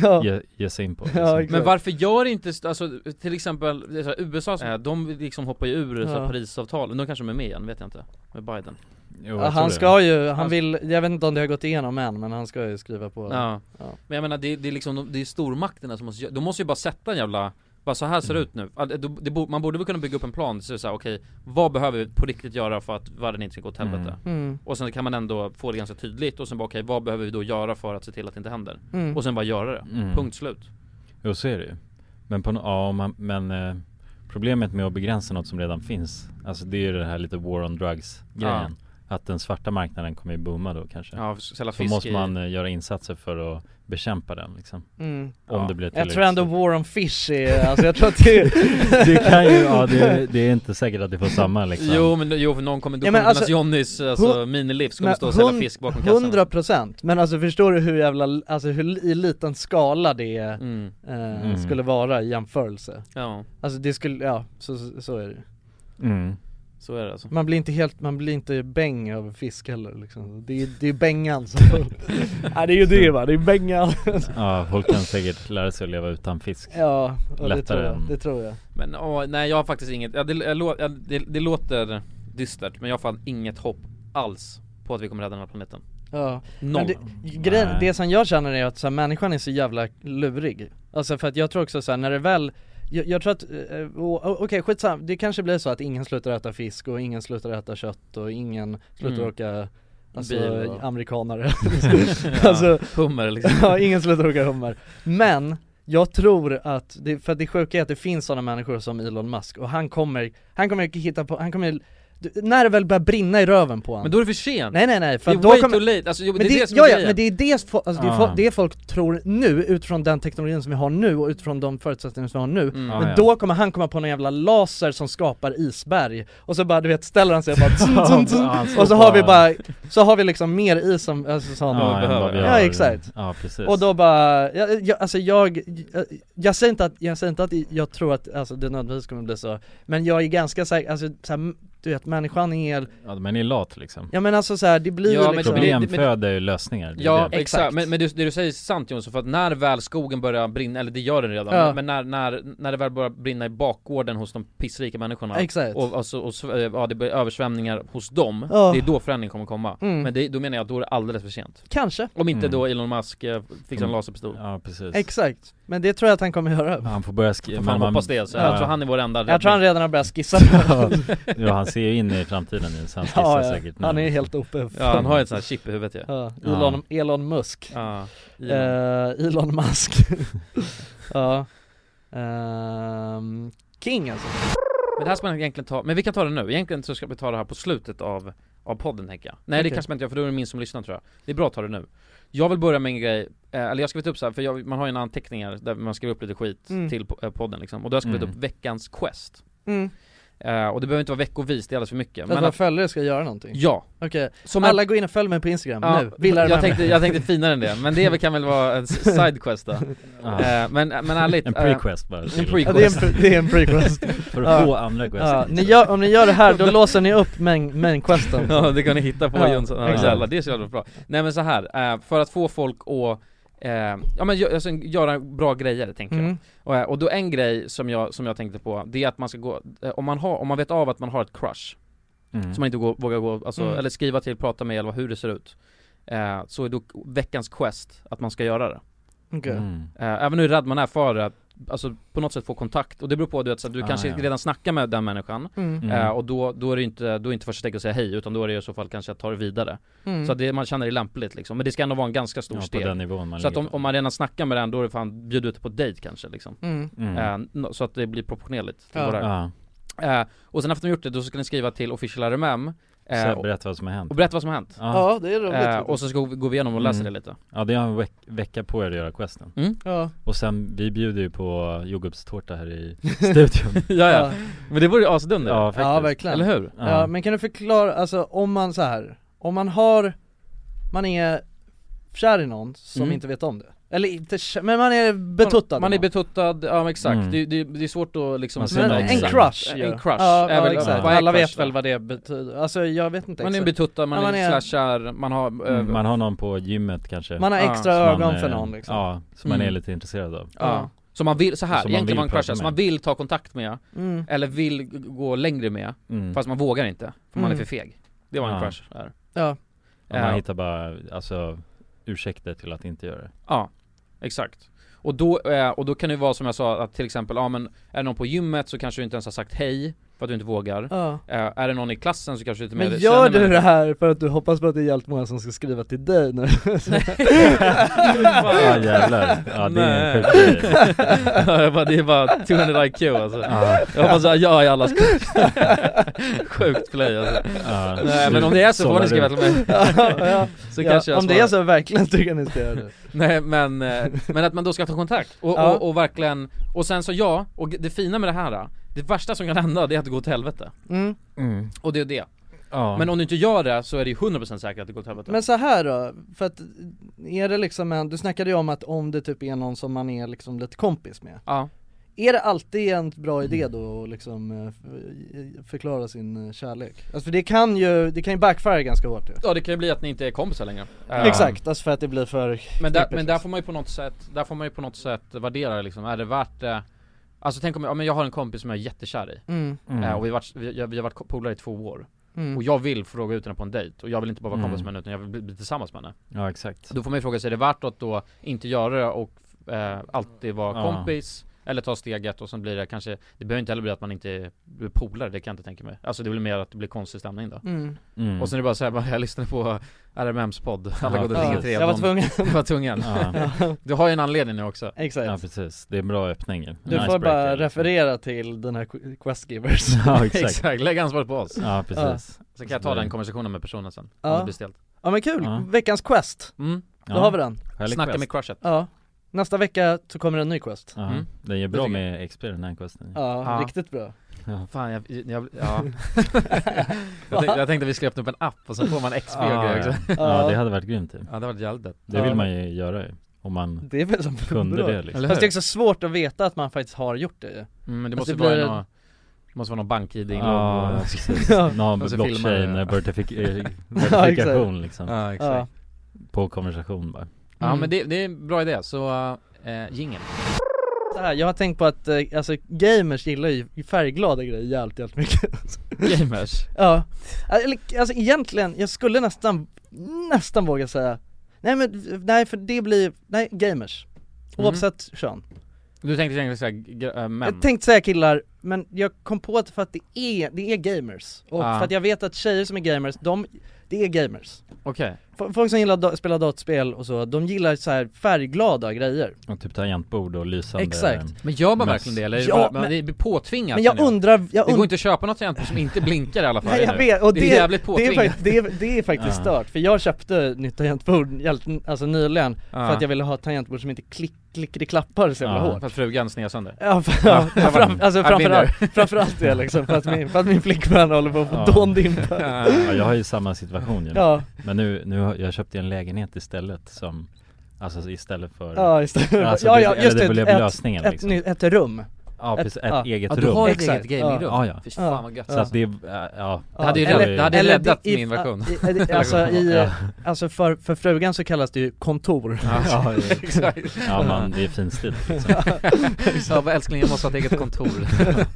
A: Ja.
G: ge, ge sig in på liksom.
A: Ja, exakt.
B: Men varför gör inte, st- alltså till exempel det är så här, USA, så här, de liksom hoppar ju ur så här,
A: Ja.
B: Parisavtalet, de kanske de är med igen, vet jag inte, med Biden
G: Jo, jag
A: Ja,
G: tror
A: han
G: det.
A: ska ju, han
B: Han-
A: vill, jag vet inte om det har gått igenom än men han ska ju skriva på
B: Ja,
A: Ja.
B: men jag menar det, det är liksom, de- det är stormakterna som måste, gö- de måste ju bara sätta en jävla bara så här ser
G: Mm.
B: det ut nu, Alltså, det, det, bo- man borde väl kunna bygga upp en plan, så är det så här, okej, vad behöver vi på riktigt göra för att världen inte ska gå åt helvete?
G: Mm.
A: Mm,
B: Och sen kan man ändå få det ganska tydligt och sen bara okej, vad behöver vi då göra för att se till att det inte händer?
A: mm.
B: Och sen bara göra det,
G: Mm.
B: punkt slut
G: Jo så är det ju Men på no- ja, om man, men eh, Problemet med att begränsa något som redan finns Alltså det är ju det här lite war on drugs grejen Att den svarta marknaden kommer ju booma då kanske
B: Ja, sälja
G: Så
B: fisk
G: måste
B: i-
G: man eh, göra insatser för att bekämpa den liksom
A: Mm.
G: Om
B: Ja.
G: det blir
A: Jag
G: tillräckligt
A: tror ändå
G: stort.
A: War on Fish är, alltså jag tror att det är,
G: *laughs* Det kan ju, ja det, det är inte säkert att det får samma liksom
B: Jo men jo för någon kommer, då
A: Ja, men
B: kommer
A: alltså-
B: alltså, Johnnys alltså,
A: hu-
B: miniliv kommer
A: men
B: stå och sälja
A: hun-
B: fisk bakom kassan
A: 100% Men alltså förstår du hur jävla, alltså hur li- i liten skala det eh,
B: mm,
G: Mm.
A: skulle vara i jämförelse
B: Ja,
A: Alltså det skulle, ja så, så- så är det
G: mm.
B: så är
A: *laughs*
B: det alltså
A: Man blir inte helt, man blir inte bäng av fisk heller liksom Det är det är bängan som, *laughs* nej det är ju det va, det är bängan
G: Ja folk kan säkert lära sig att leva utan fisk
A: Ja, och det
G: Lättare
A: tror jag,
G: än-
A: det tror jag
B: Men åh, nej jag har faktiskt inget, ja, det, jag, lå- ja, det, det låter dystert men jag har fan inget hopp alls på att vi kommer rädda den här planeten
A: Ja,
B: Noll
A: Men det, grejen,
G: Nej.
A: det som jag känner är att så här, människan är så jävla lurig Alltså för att jag tror också så här, när det väl jag, jag tror att, eh, och- och- okej skitsamma, det kanske blir så att ingen slutar äta fisk och ingen slutar äta kött och ingen slutar
B: Mm.
A: åka
B: *laughs*
A: Alltså
B: Bil och-
A: amerikanare *laughs*
B: *laughs*
A: Alltså,
B: Hummer liksom
A: *laughs* ja ingen slutar åka hummer Men jag tror att, det, för att det sjuka är att det finns sådana människor som Elon Musk och han kommer, han kommer hitta på, han kommer, du- när det väl börjar brinna i röven på
B: Men
A: honom
B: då är det för sent!
A: Nej nej nej,
B: det
A: för
B: är
A: att då
B: way
A: kommer,
B: too late, alltså, jo,
A: men
B: det är
A: det,
B: det som
A: ja,
B: är
A: ja,
B: grejen.
A: men det är det, fo- alltså, det, är
G: Ah.
A: fo- det folk tror nu utifrån den teknologin som vi har nu och utifrån de förutsättningar som vi har nu
B: Mm.
G: Ja,
A: Men
G: Ah, ja.
A: då kommer han komma på någon jävla laser som skapar isberg och så bara du vet ställer han sig och
G: *laughs*
A: bara tsun, tsun, tsun,
G: Ja, han står
A: och så har
G: på-
A: vi bara, så har vi liksom mer is som, alltså, som
G: Ja, än vad vi
B: Ja,
G: har.
A: exakt.
G: Ja precis
A: och då bara, jag, jag, alltså jag, jag, jag säger inte att, jag säger inte att jag tror att alltså, det nödvändigtvis kommer bli så Men jag är ganska säker, alltså så här, du vet människan är,
G: ja, men är lat liksom
A: ja men alltså så här, det blir
B: Ja, men
A: liksom
B: det blir-
G: Problem föder ju lösningar det är
B: Ja
G: det.
B: exakt,
A: Exakt.
B: men, men det, det du säger är sant Jonsson, för att när väl skogen börjar brinna, eller det gör den redan,
A: Ja.
B: men när, när, när det väl börjar brinna i bakgården hos de pissrika människorna
A: Exakt.
B: Och, alltså, och sv- eh, ja, det blir översvämningar hos dem,
A: Ja.
B: det är då förändring kommer komma
A: Mm.
B: Men det, då menar jag att då är det alldeles för sent
A: kanske
B: Om inte
G: Mm.
B: då Elon Musk eh, fixar en
G: Mm.
B: laserpistol
G: Ja precis
A: Exakt, men det tror jag att han kommer göra
G: Ja, Han får börja
B: Får
G: skriva,
B: Fan hoppas det alltså, jag
G: Ja.
B: tror han är vår enda
A: Jag tror han
B: räddning.
A: redan har börjat skissa på
G: *laughs* Ja, *laughs* ja, han ser ju in i framtiden nu så han
A: *laughs*
G: skissar
A: ja, ja.
G: säkert nu.
A: Han är helt uppe
B: Ja han har ju ett sånt här chip i huvudet ju
A: ja. Elon, Elon Musk
B: Ja,
A: Elon,
B: Elon.
A: Elon
G: *laughs*
A: Musk Ja Ehm, King alltså
B: Men det här ska man egentligen ta, men vi kan ta det nu, egentligen så ska vi ta det här på slutet av, av podden tänker jag Nej
A: Okej.
B: det kanske man inte gör för då är det minst som lyssnar tror jag Det är bra att ta det nu Jag vill börja med en grej, eh, eller jag har skrivit upp så här, för jag, man har ju en anteckningar där man skriver upp lite skit
A: Mm.
B: till po- eh, podden liksom Och då har jag skrivit
G: Mm.
B: upp veckans quest
A: mm.
B: eh, Och det behöver inte vara veckovis, det är alldeles för mycket
A: Att
B: men
A: våra
B: att,
A: följare ska göra någonting
B: Ja,
A: Okej,
B: som en-
A: alla går in och följ mig på Instagram nu, Villa
B: jag,
A: Remember.
B: tänkte, jag tänkte finare än det, men det kan väl vara
A: *laughs*
B: en s- sidequest då
G: Ja.
B: eh, Men, men ärligt
G: En
B: eh,
G: prequest bara till-
B: prequest.
A: ja, det, är en, pre- det är en
G: *laughs*
A: prequest
G: För
A: Ja.
G: att få andra quest
A: ja, ni gör, Om ni gör det här, då låser ni upp main, main questen
B: *laughs* Ja det kan ni hitta på
A: Ja,
B: Jönsson, ja,
G: exakt.
B: jävlar, det är så jävla bra Nej men så här eh, för att få folk att eh, ja men gö- alltså, göra bra grejer tänker jag
A: mm.
B: och, eh, och då en grej som jag, som jag tänkte på, det är att man ska gå, eh, om man har, om man vet av att man har ett crush
G: Mm.
B: Som man inte går, vågar gå, alltså,
A: Mm.
B: eller skriva till, prata med eller hur det ser ut eh, Så är då veckans quest att man ska göra det
A: okej.
G: Mm.
B: Eh, Även hur rädd man är för att Alltså på något sätt få kontakt, och det beror på du vet, så att du
G: Ah,
B: kanske
G: ja.
B: redan snackar med den människan
A: Mm.
G: Mm.
B: eh, Och då, då är det ju inte, då är det inte första steget att säga hej utan då är det i så fall kanske att ta det vidare
A: Mm.
B: Så att det, man känner det lämpligt liksom, men det ska ändå vara en ganska stor
G: ja, på
B: steg
G: den nivån man
B: Så att om,
G: ligger på.
B: om man redan snackar med den, då är det fan, bjud ut på dejt kanske liksom
A: mm.
G: mm.
B: Eh, nå- Så att det blir proportionerligt till
A: Ja.
B: våra
G: ja.
B: Eh, och sen efter de gjort det, då ska ni skriva till officiella RMM Eh,
G: Så
B: och,
G: berätta vad som har hänt
B: och berätta vad som har hänt.
G: Ja,
A: Ja, det är roligt.
B: Eh, och så ska vi gå igenom och läsa
G: Mm.
B: det lite.
G: ja det har en veck- vecka på er att göra questen
A: ja.
G: Och sen, vi bjuder ju på jordgubbstårta här
B: *laughs*
G: i studion
B: ja, ja. Men det vore ju asdunder.
G: Ja faktiskt
A: ja, verkligen.
B: Eller hur?
G: Ja.
A: Ja, men kan du förklara, alltså om man så här om man har, man är kär i någon som
B: Mm.
A: inte vet om det. Eller inte kär, men man är betuttad.
B: Man är
A: med någon.
B: betuttad, ja men exakt.
G: Mm.
B: Det, det, det är svårt att liksom
G: Man ser
A: men
G: någon
A: en
G: som-
A: crush ju.
B: En crush,
A: Ja,
B: är
A: ja
B: väl-
A: exakt.
B: vad är
A: Alla
B: crush
A: vet
B: då?
A: väl vad det
B: typ.
A: betyder, alltså jag vet inte
B: Man är en
A: exakt.
B: betuttad, man,
A: Ja, man
B: är,
A: är-
B: slash kär, man har... eh,
G: Mm, Man har någon på gymmet kanske
A: Man har
B: Ja,
A: extra
G: som man,
A: ögon
G: eh,
A: för någon liksom.
G: Ja, som man är
B: Mm.
G: lite intresserad av
B: ja. Som man vill, så här,
G: Som Alltså, man vill
B: egentligen man
G: prata
B: crushar, som
G: med.
B: man vill ta kontakt med,
A: Mm.
B: eller vill g- gå längre med,
G: mm.
B: fast man vågar inte, för man är
A: Mm.
B: för feg. Det var en
G: Ja.
B: crush där.
A: Ja.
G: Och
B: Ja.
G: man hittar bara, alltså ursäkter till att
B: *laughs*
G: inte göra det
B: Ja, exakt. Och då, eh, och då kan det ju vara som jag sa, att till exempel, ja men är det någon på gymmet så kanske du inte ens har sagt hej, för att du inte vågar.
A: ja.
B: Eh, är det någon i klassen så kanske du inte
A: Men
B: mer
A: gör
B: känner
A: du
B: med- *laughs*
A: det här för att du hoppas på att det är jävligt många som ska skriva till dig nu?
G: Ja jävlar, ja det är en
B: Nej.
G: sjuk grej
B: Ja, jag bara, det är bara 200 IQ alltså.
G: Ja,
B: Jag hoppas att jag är allas *laughs* Sjukt play alltså.
G: ja,
B: *laughs* Nej men om det är så får ni skriva till mig.
A: *laughs* ja,
B: Så
A: ja.
B: kanske jag
A: om det är
B: svarar.
A: så verkligen tycker jag ni ska göra
B: *laughs*
A: det.
B: Nej men, eh, men att man då ska ta kontakt och,
A: Ja.
B: och, och verkligen, och sen så ja, och det fina med det här, eh, det värsta som kan hända det är att det går till helvete.
A: Mm.
G: Mm.
B: Och det är det.
G: Ja.
B: Men om du inte gör det så är det ju 100% säkert att det går till helvete.
A: Men så här då, för att är det liksom en, du snackade ju om att om det typ är någon som man är liksom lite kompis med
B: Ja.
A: Är det alltid en bra idé då att liksom eh, f- förklara sin eh, kärlek? Alltså för det kan ju, det kan ju backfire ganska hårt ju
B: ja, det kan ju bli att ni inte är kompisar längre. Eh,
A: Exakt, alltså för att det blir för
B: Men där,
A: knepigt,
B: men där
A: liksom.
B: får man ju på något sätt, där får man ju på något sätt värdera liksom, är det värt det? Alltså tänk om, jag- ja, men jag har en kompis som jag är jättekär i,
A: mm,
G: Mm.
B: eh, och vi har varit, vi, vi har varit polare i två år,
A: mm.
B: och jag vill fråga ut henne på en dejt, och jag vill inte bara vara kompis
G: Mm.
B: med henne utan jag vill bli, bli tillsammans med henne
G: Ja exakt
B: Då får man ju fråga sig, är det värt att då inte göra det och eh, alltid vara
G: Ja.
B: kompis? Eller ta steget och sen blir det kanske, det behöver inte heller bli att man inte blir polare, det kan jag inte tänka mig Alltså det blir mer att det blir konstig stämning då
A: Mm.
G: mm.
B: Och sen är det bara såhär, jag lyssnar på RMMs podd, alla
G: Ja,
B: goda ting är
A: Ja,
G: precis.
B: tre
A: jag var tvungen,
B: Jag var tvungen
G: ja.
B: *laughs* Du har ju en anledning nu också
A: *laughs* exakt
G: ja precis, det är en bra öppning en
A: Du får bara
G: icebreaker.
A: referera till den här Qu- Questgivers
G: *laughs*
A: *laughs*
G: Ja exakt,
B: *laughs* Exakt, lägg ansvaret på oss
G: ja precis
B: Så kan jag ta den konversationen med personen sen,
A: Ja.
B: om det blir stelt
A: Ja men kul,
G: Ja.
A: veckans quest,
B: mm.
A: då
G: Ja,
A: har vi den
G: härlig
B: Snacka
G: quest.
B: med crushet
A: Ja, nästa vecka så kommer en ny quest
G: Ja,
B: Mm.
G: den är
B: Det
G: bra
B: tycker
G: med XP den här questen
A: Ja,
B: Ja.
A: riktigt bra
G: ja.
B: Fan jag, jag,
A: *laughs*
B: ja. jag, tänkte, jag tänkte vi skulle öppna upp en app och sen får man XP och
G: Ah, Ja,
B: grejer också
G: ja. ja det hade varit grymt ju.
B: Ja det var jävligt dött.
G: Det vill man ju göra ju, om man
A: Det är väl som *laughs*
G: kunde
A: bra.
G: det liksom
B: Eller
A: Fast det är
B: hur?
A: också svårt att veta att man faktiskt har gjort det ju.
B: Mm, men det
A: Fast
B: måste
A: Alltså, det
B: vara
A: blir-
B: någon, det måste vara någon bank-id inlogg
G: Ja,
B: och-
G: precis.
A: Ja.
G: Någon
B: Och så
G: blockchain
B: filmar det.
G: eh, vertifi- eh,
A: Ja,
G: verifikation
A: exakt.
G: liksom,
B: Ja exakt
A: Ja.
B: Ja,
G: på konversation bara
A: Mm.
B: men det, det är en bra idé, så
A: *laughs*
B: eh, jingeln
A: Så här, jag har tänkt på att eh, alltså, gamers gillar ju färgglada grejer jävligt, jävligt mycket *laughs*
B: Gamers
A: Ja, eller, alltså egentligen, jag skulle nästan, nästan våga säga Nej men, nej för det blir, nej gamers
B: Mm.
A: Oavsett kön
B: Du tänkte egentligen såhär, gr- äh, män?
A: Jag tänkte säga killar, men jag kom på att för att det är, det är gamers Och
B: Ah.
A: för att jag vet att tjejer som är gamers, de, det är gamers
B: Okej,
A: F- Folk som gillar att da- spela dataspel och så, de gillar så här färgglada grejer
G: Och typ tangentbord och lysande
A: Exakt.
B: men gör man
G: Mess.
B: verkligen det eller? är det
A: Ja,
B: bara, men,
A: men-
B: det blir påtvingat
A: Men jag
B: känner
A: undrar, jag
B: Det
A: undrar
B: går inte att köpa något tangentbord som inte blinkar i alla fall
A: Nej jag
B: nu.
A: vet, och
B: Det
A: det,
B: är jävligt
A: det, är,
B: påtvingat.
A: fakt- det, är, det är faktiskt
G: Ja.
A: stört, för jag köpte nytt tangentbord helt- alltså nyligen
B: Ja.
A: För att jag ville ha ett tangentbord som inte klick, klick, det klappar så jävla
G: Ja.
A: hårt
B: För att frugan
A: *laughs*
B: sned sönder
A: Ja, för, ja,
B: jag
A: fram,
B: var-
A: alltså
B: jag blir
A: framförallt, framförallt det liksom, för att min, för att min flickvän håller på att få
G: Ja.
A: dåndimpa
G: Ja, jag har ju samma situation ju.
A: Ja,
G: Men nu, nu har, jag köpte en lägenhet istället som, alltså istället för
A: ja just det,
G: Alltså,
A: ja,
G: det-
A: ja
G: eller
A: just
G: det
A: det,
G: blev
A: ett,
G: lösningen
A: ett,
G: liksom.
A: nytt- ett rum
G: Ja
A: Ett-
G: precis, ett,
A: ja.
G: eget
B: Ja du
G: rum
B: har ett
A: Exakt.
B: eget gamingrum?
G: Ja, ja.
B: Fy
A: Ja.
B: fan vad gött
G: Så att det, äh, ja
A: Ja.
B: Det hade ju
A: Eller-
B: räddat, det hade
A: eller
B: räddat
A: i-
B: min version
A: i- i- Alltså, i, alltså för, för frugan så kallas det ju kontor
G: Ja,
B: *laughs* Exakt.
G: ja man, det är fin stil liksom.
B: *laughs* Ja, men älskling jag måste ha ett eget kontor
G: Jag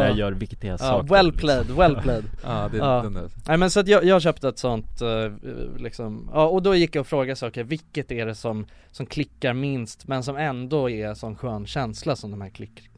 G: liksom. gör viktiga
A: ja,
G: saker
A: well played, well played
B: Ja, det är
A: Ja.
B: den där
A: Nej men så att jag, jag köpte ett sånt eh, liksom, ja och då gick jag och frågade saker, vilket är det som, som klickar minst men som ändå är sån skön känsla som de här klick,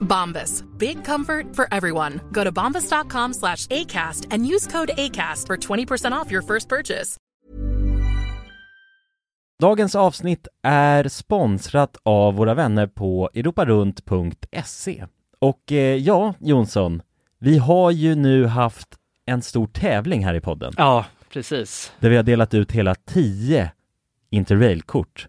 H: Bombas. Big comfort for everyone. Go to bombas.com slash ACAST and use code ACAST for 20% off your first purchase.
C: Dagens avsnitt är sponsrat av våra vänner på europarunt.se. Och eh, ja, Jonsson, vi har ju nu haft en stor tävling här i podden.
A: Ja, precis.
C: Där vi har delat ut hela 10 Interrail-kort.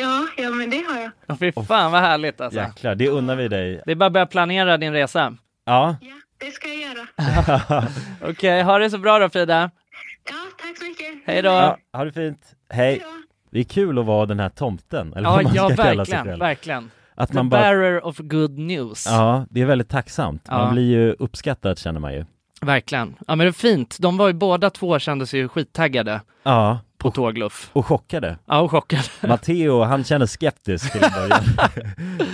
G: Ja, ja men det har jag.
A: Ja. Fy fan vad härligt alltså.
C: Jäklar, det unnar vi dig.
A: Det är bara att börja planera din resa.
C: Ja.
G: Det ska jag göra.
A: Okej, ha det så bra då Frida.
G: Ja, tack så mycket.
A: Hej då.
C: ja ha det fint. Hej. Det är kul att vara den här tomten, eller
A: Ja,
C: vad man
A: ja
C: ska kalla sig
A: verkligen,
C: själv.
A: verkligen.
C: Att
A: The
C: man bara-
A: bearer of good news.
C: Ja, det är väldigt tacksamt. Man
A: Ja.
C: blir ju uppskattad känner man ju.
A: Verkligen. Ja men det är fint. De var ju båda två kändes ju skittaggade
C: Ja.
A: på tågluff.
C: Och chockade.
A: Ja, och chockade.
C: Matteo, han
A: *laughs*
C: känner skeptisk till en början.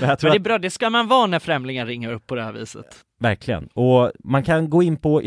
C: Men
A: Men
C: jag tror
A: det är
C: att-
A: bra, det ska man vara när främlingar ringer upp på det här viset.
C: Verkligen. Och man kan gå in på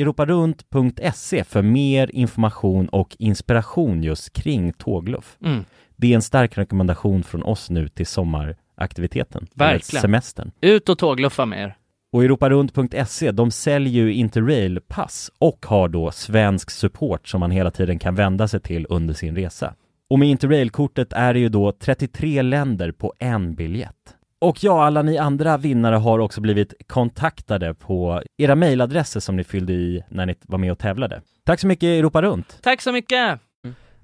C: europarunt.se för mer information och inspiration just kring tågluff.
I: Mm.
C: Det är en stark rekommendation från oss nu till sommaraktiviteten. eller
I: Verkligen.
C: Semestern.
I: Ut och tågluffa med er.
C: Och europarunt.se, de säljer ju Interrail-pass och har då svensk support som man hela tiden kan vända sig till under sin resa. Och med Interrail-kortet är det ju då 33 länder på en biljett. Och ja, alla ni andra vinnare har också blivit kontaktade på era mejladresser som ni fyllde i när ni var med och tävlade. Tack så mycket Europa Runt!
A: Tack så mycket!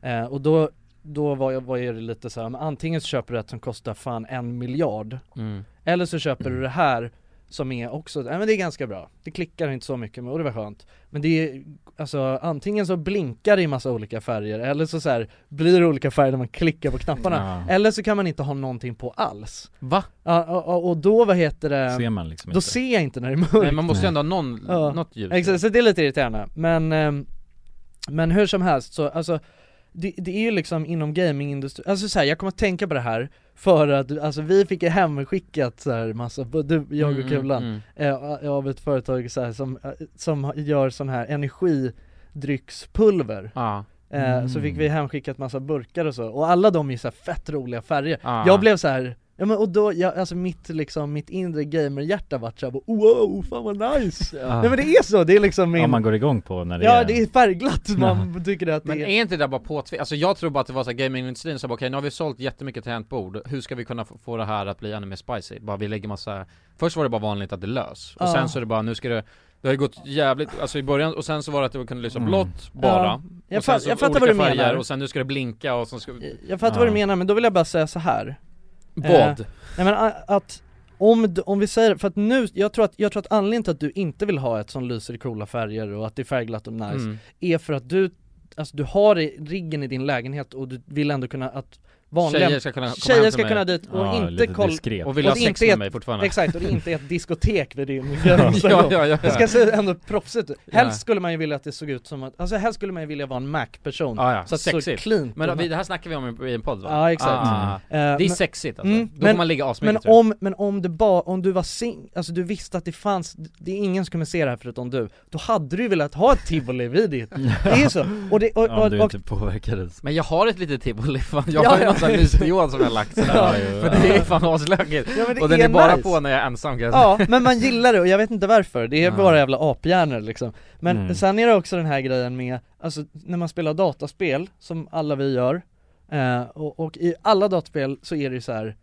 A: Eh, och då, då var, jag, var jag lite så här, men antingen så köper du ett som kostar fan en miljard
B: Mm.
A: Eller så köper du det här som är också, nej men det är ganska bra Det klickar inte så mycket men och det var skönt Men det är, alltså antingen så blinkar det i massa olika färger Eller så, så här, blir det olika färger när man klickar på knapparna
G: Ja.
A: Eller så kan man inte ha någonting på alls
B: Va?
A: Ja, och, och- och då vad heter det
G: Ser man liksom
A: Då
G: inte.
A: ser jag inte när det är mörkt
B: Nej, man måste ju ändå ha någon,
A: Ja.
B: något ljus
A: Exakt, så det är lite irriterande. Men, ehm, men hur som helst så, alltså det, det är ju liksom inom gamingindustrin, alltså så här, jag kommer att tänka på det här för att, alltså vi fick ju hemskickat så här massa, både jag och
B: Mm,
A: Kulan,
B: mm,
A: eh, av ett företag så här, som, eh, som gör sån här energidryckspulver
B: Ja.
A: eh,
B: Mm.
A: Så fick vi hemskickat massa burkar och så, och alla de är så här fett roliga färger
B: Ja.
A: Jag blev så här Ja men och då, jag, alltså mitt liksom, mitt inre gamerhjärta vart såhär wow, fan vad nice!
G: Ja.
A: Nej men det är så, det är liksom min
G: Ja, man går igång på när det
A: Ja
G: är...
A: det är färgglatt,
B: *laughs*
A: man tycker att det
B: Men är inte det där bara påtvingat? Alltså jag tror bara att det var så här gamingindustrin som bara, okej nu har vi sålt jättemycket tangentbord, hur ska vi kunna få- få det här att bli ännu mer spicy? Bara vi lägger massa, först var det bara vanligt att det lös, och
A: Ja.
B: sen så är det bara, nu ska det det har ju gått jävligt, alltså i början, och sen så var det att det kunde lysa
A: Mm.
B: blått
A: Ja.
B: bara
A: Jag
B: och sen
A: fa-
B: så
A: jag fattar
B: olika
A: vad du menar. Eh,
B: färger, Och sen nu ska det blinka och sen ska
A: Jag fattar vad du menar men då vill jag bara säga så här.
B: Vad?
A: Eh, nej men a- att om, d- om vi säger, för att nu, jag tror att, jag tror att anledningen till att du inte vill ha ett som lyser i coola färger och att det är färgglatt och nice
B: Mm.
A: är för att du, alltså du har i- riggen i din lägenhet och du vill ändå kunna att vanliga
B: Tjejer ska kunna komma
A: tjejer
B: hem till
A: ska
B: mig.
A: kunna dit och
B: Ja,
A: inte
B: lite
A: kolla
B: diskret. Och vilja ha sex
A: inte
B: med
A: ett-
B: mig fortfarande.
A: Exakt, och det är inte ett diskotek
B: *laughs*
A: vid din
B: Ja,
A: gränsögon.
B: ja, ja,
A: Det ska
B: ja.
A: se ändå proffsigt ut. Helst
B: Ja.
A: skulle man ju vilja att det såg ut som att, alltså helst skulle man ju vilja vara en Mac-person
B: Ja, ja.
A: Så att det såg
B: sexigt.
A: clean
B: Men
A: och-
B: vi, det här snackar vi om i- i en podd va?
A: Ja exakt
B: Ah.
A: Eh,
B: Det är
A: men-
B: sexigt alltså,
A: Mm,
B: då får man ligga asmycket
A: Men
B: tror jag.
A: om, men om, det ba, om du var sing, alltså du visste att det fanns, det är ingen som kommer se det här förutom du Då hade du velat ha ett tivoli vid
B: *laughs*
A: ditt, det är så! Och det, och,
G: Ja, om
A: och,
G: du
A: och,
B: typ-
G: inte påverkades
B: Men jag har ett litet tivoli fan, jag
A: Ja,
B: har ju
A: ja.
B: någon sån här mysdiod som jag har lagt sådär
A: Ja,
G: jo,
B: För det är *laughs* fan aslökigt!
A: Ja, men det
B: och den
A: är
B: är bara
A: nice.
B: på när jag är ensam kan
A: *laughs*
B: jag
A: ja,
B: säga.
A: men man gillar det och jag vet inte varför, det är
B: Ja.
A: bara jävla aphjärnor liksom Men
B: Mm.
A: sen är det också den här grejen med, alltså när man spelar dataspel, som alla vi gör eh, och, och i alla dataspel så är det ju så här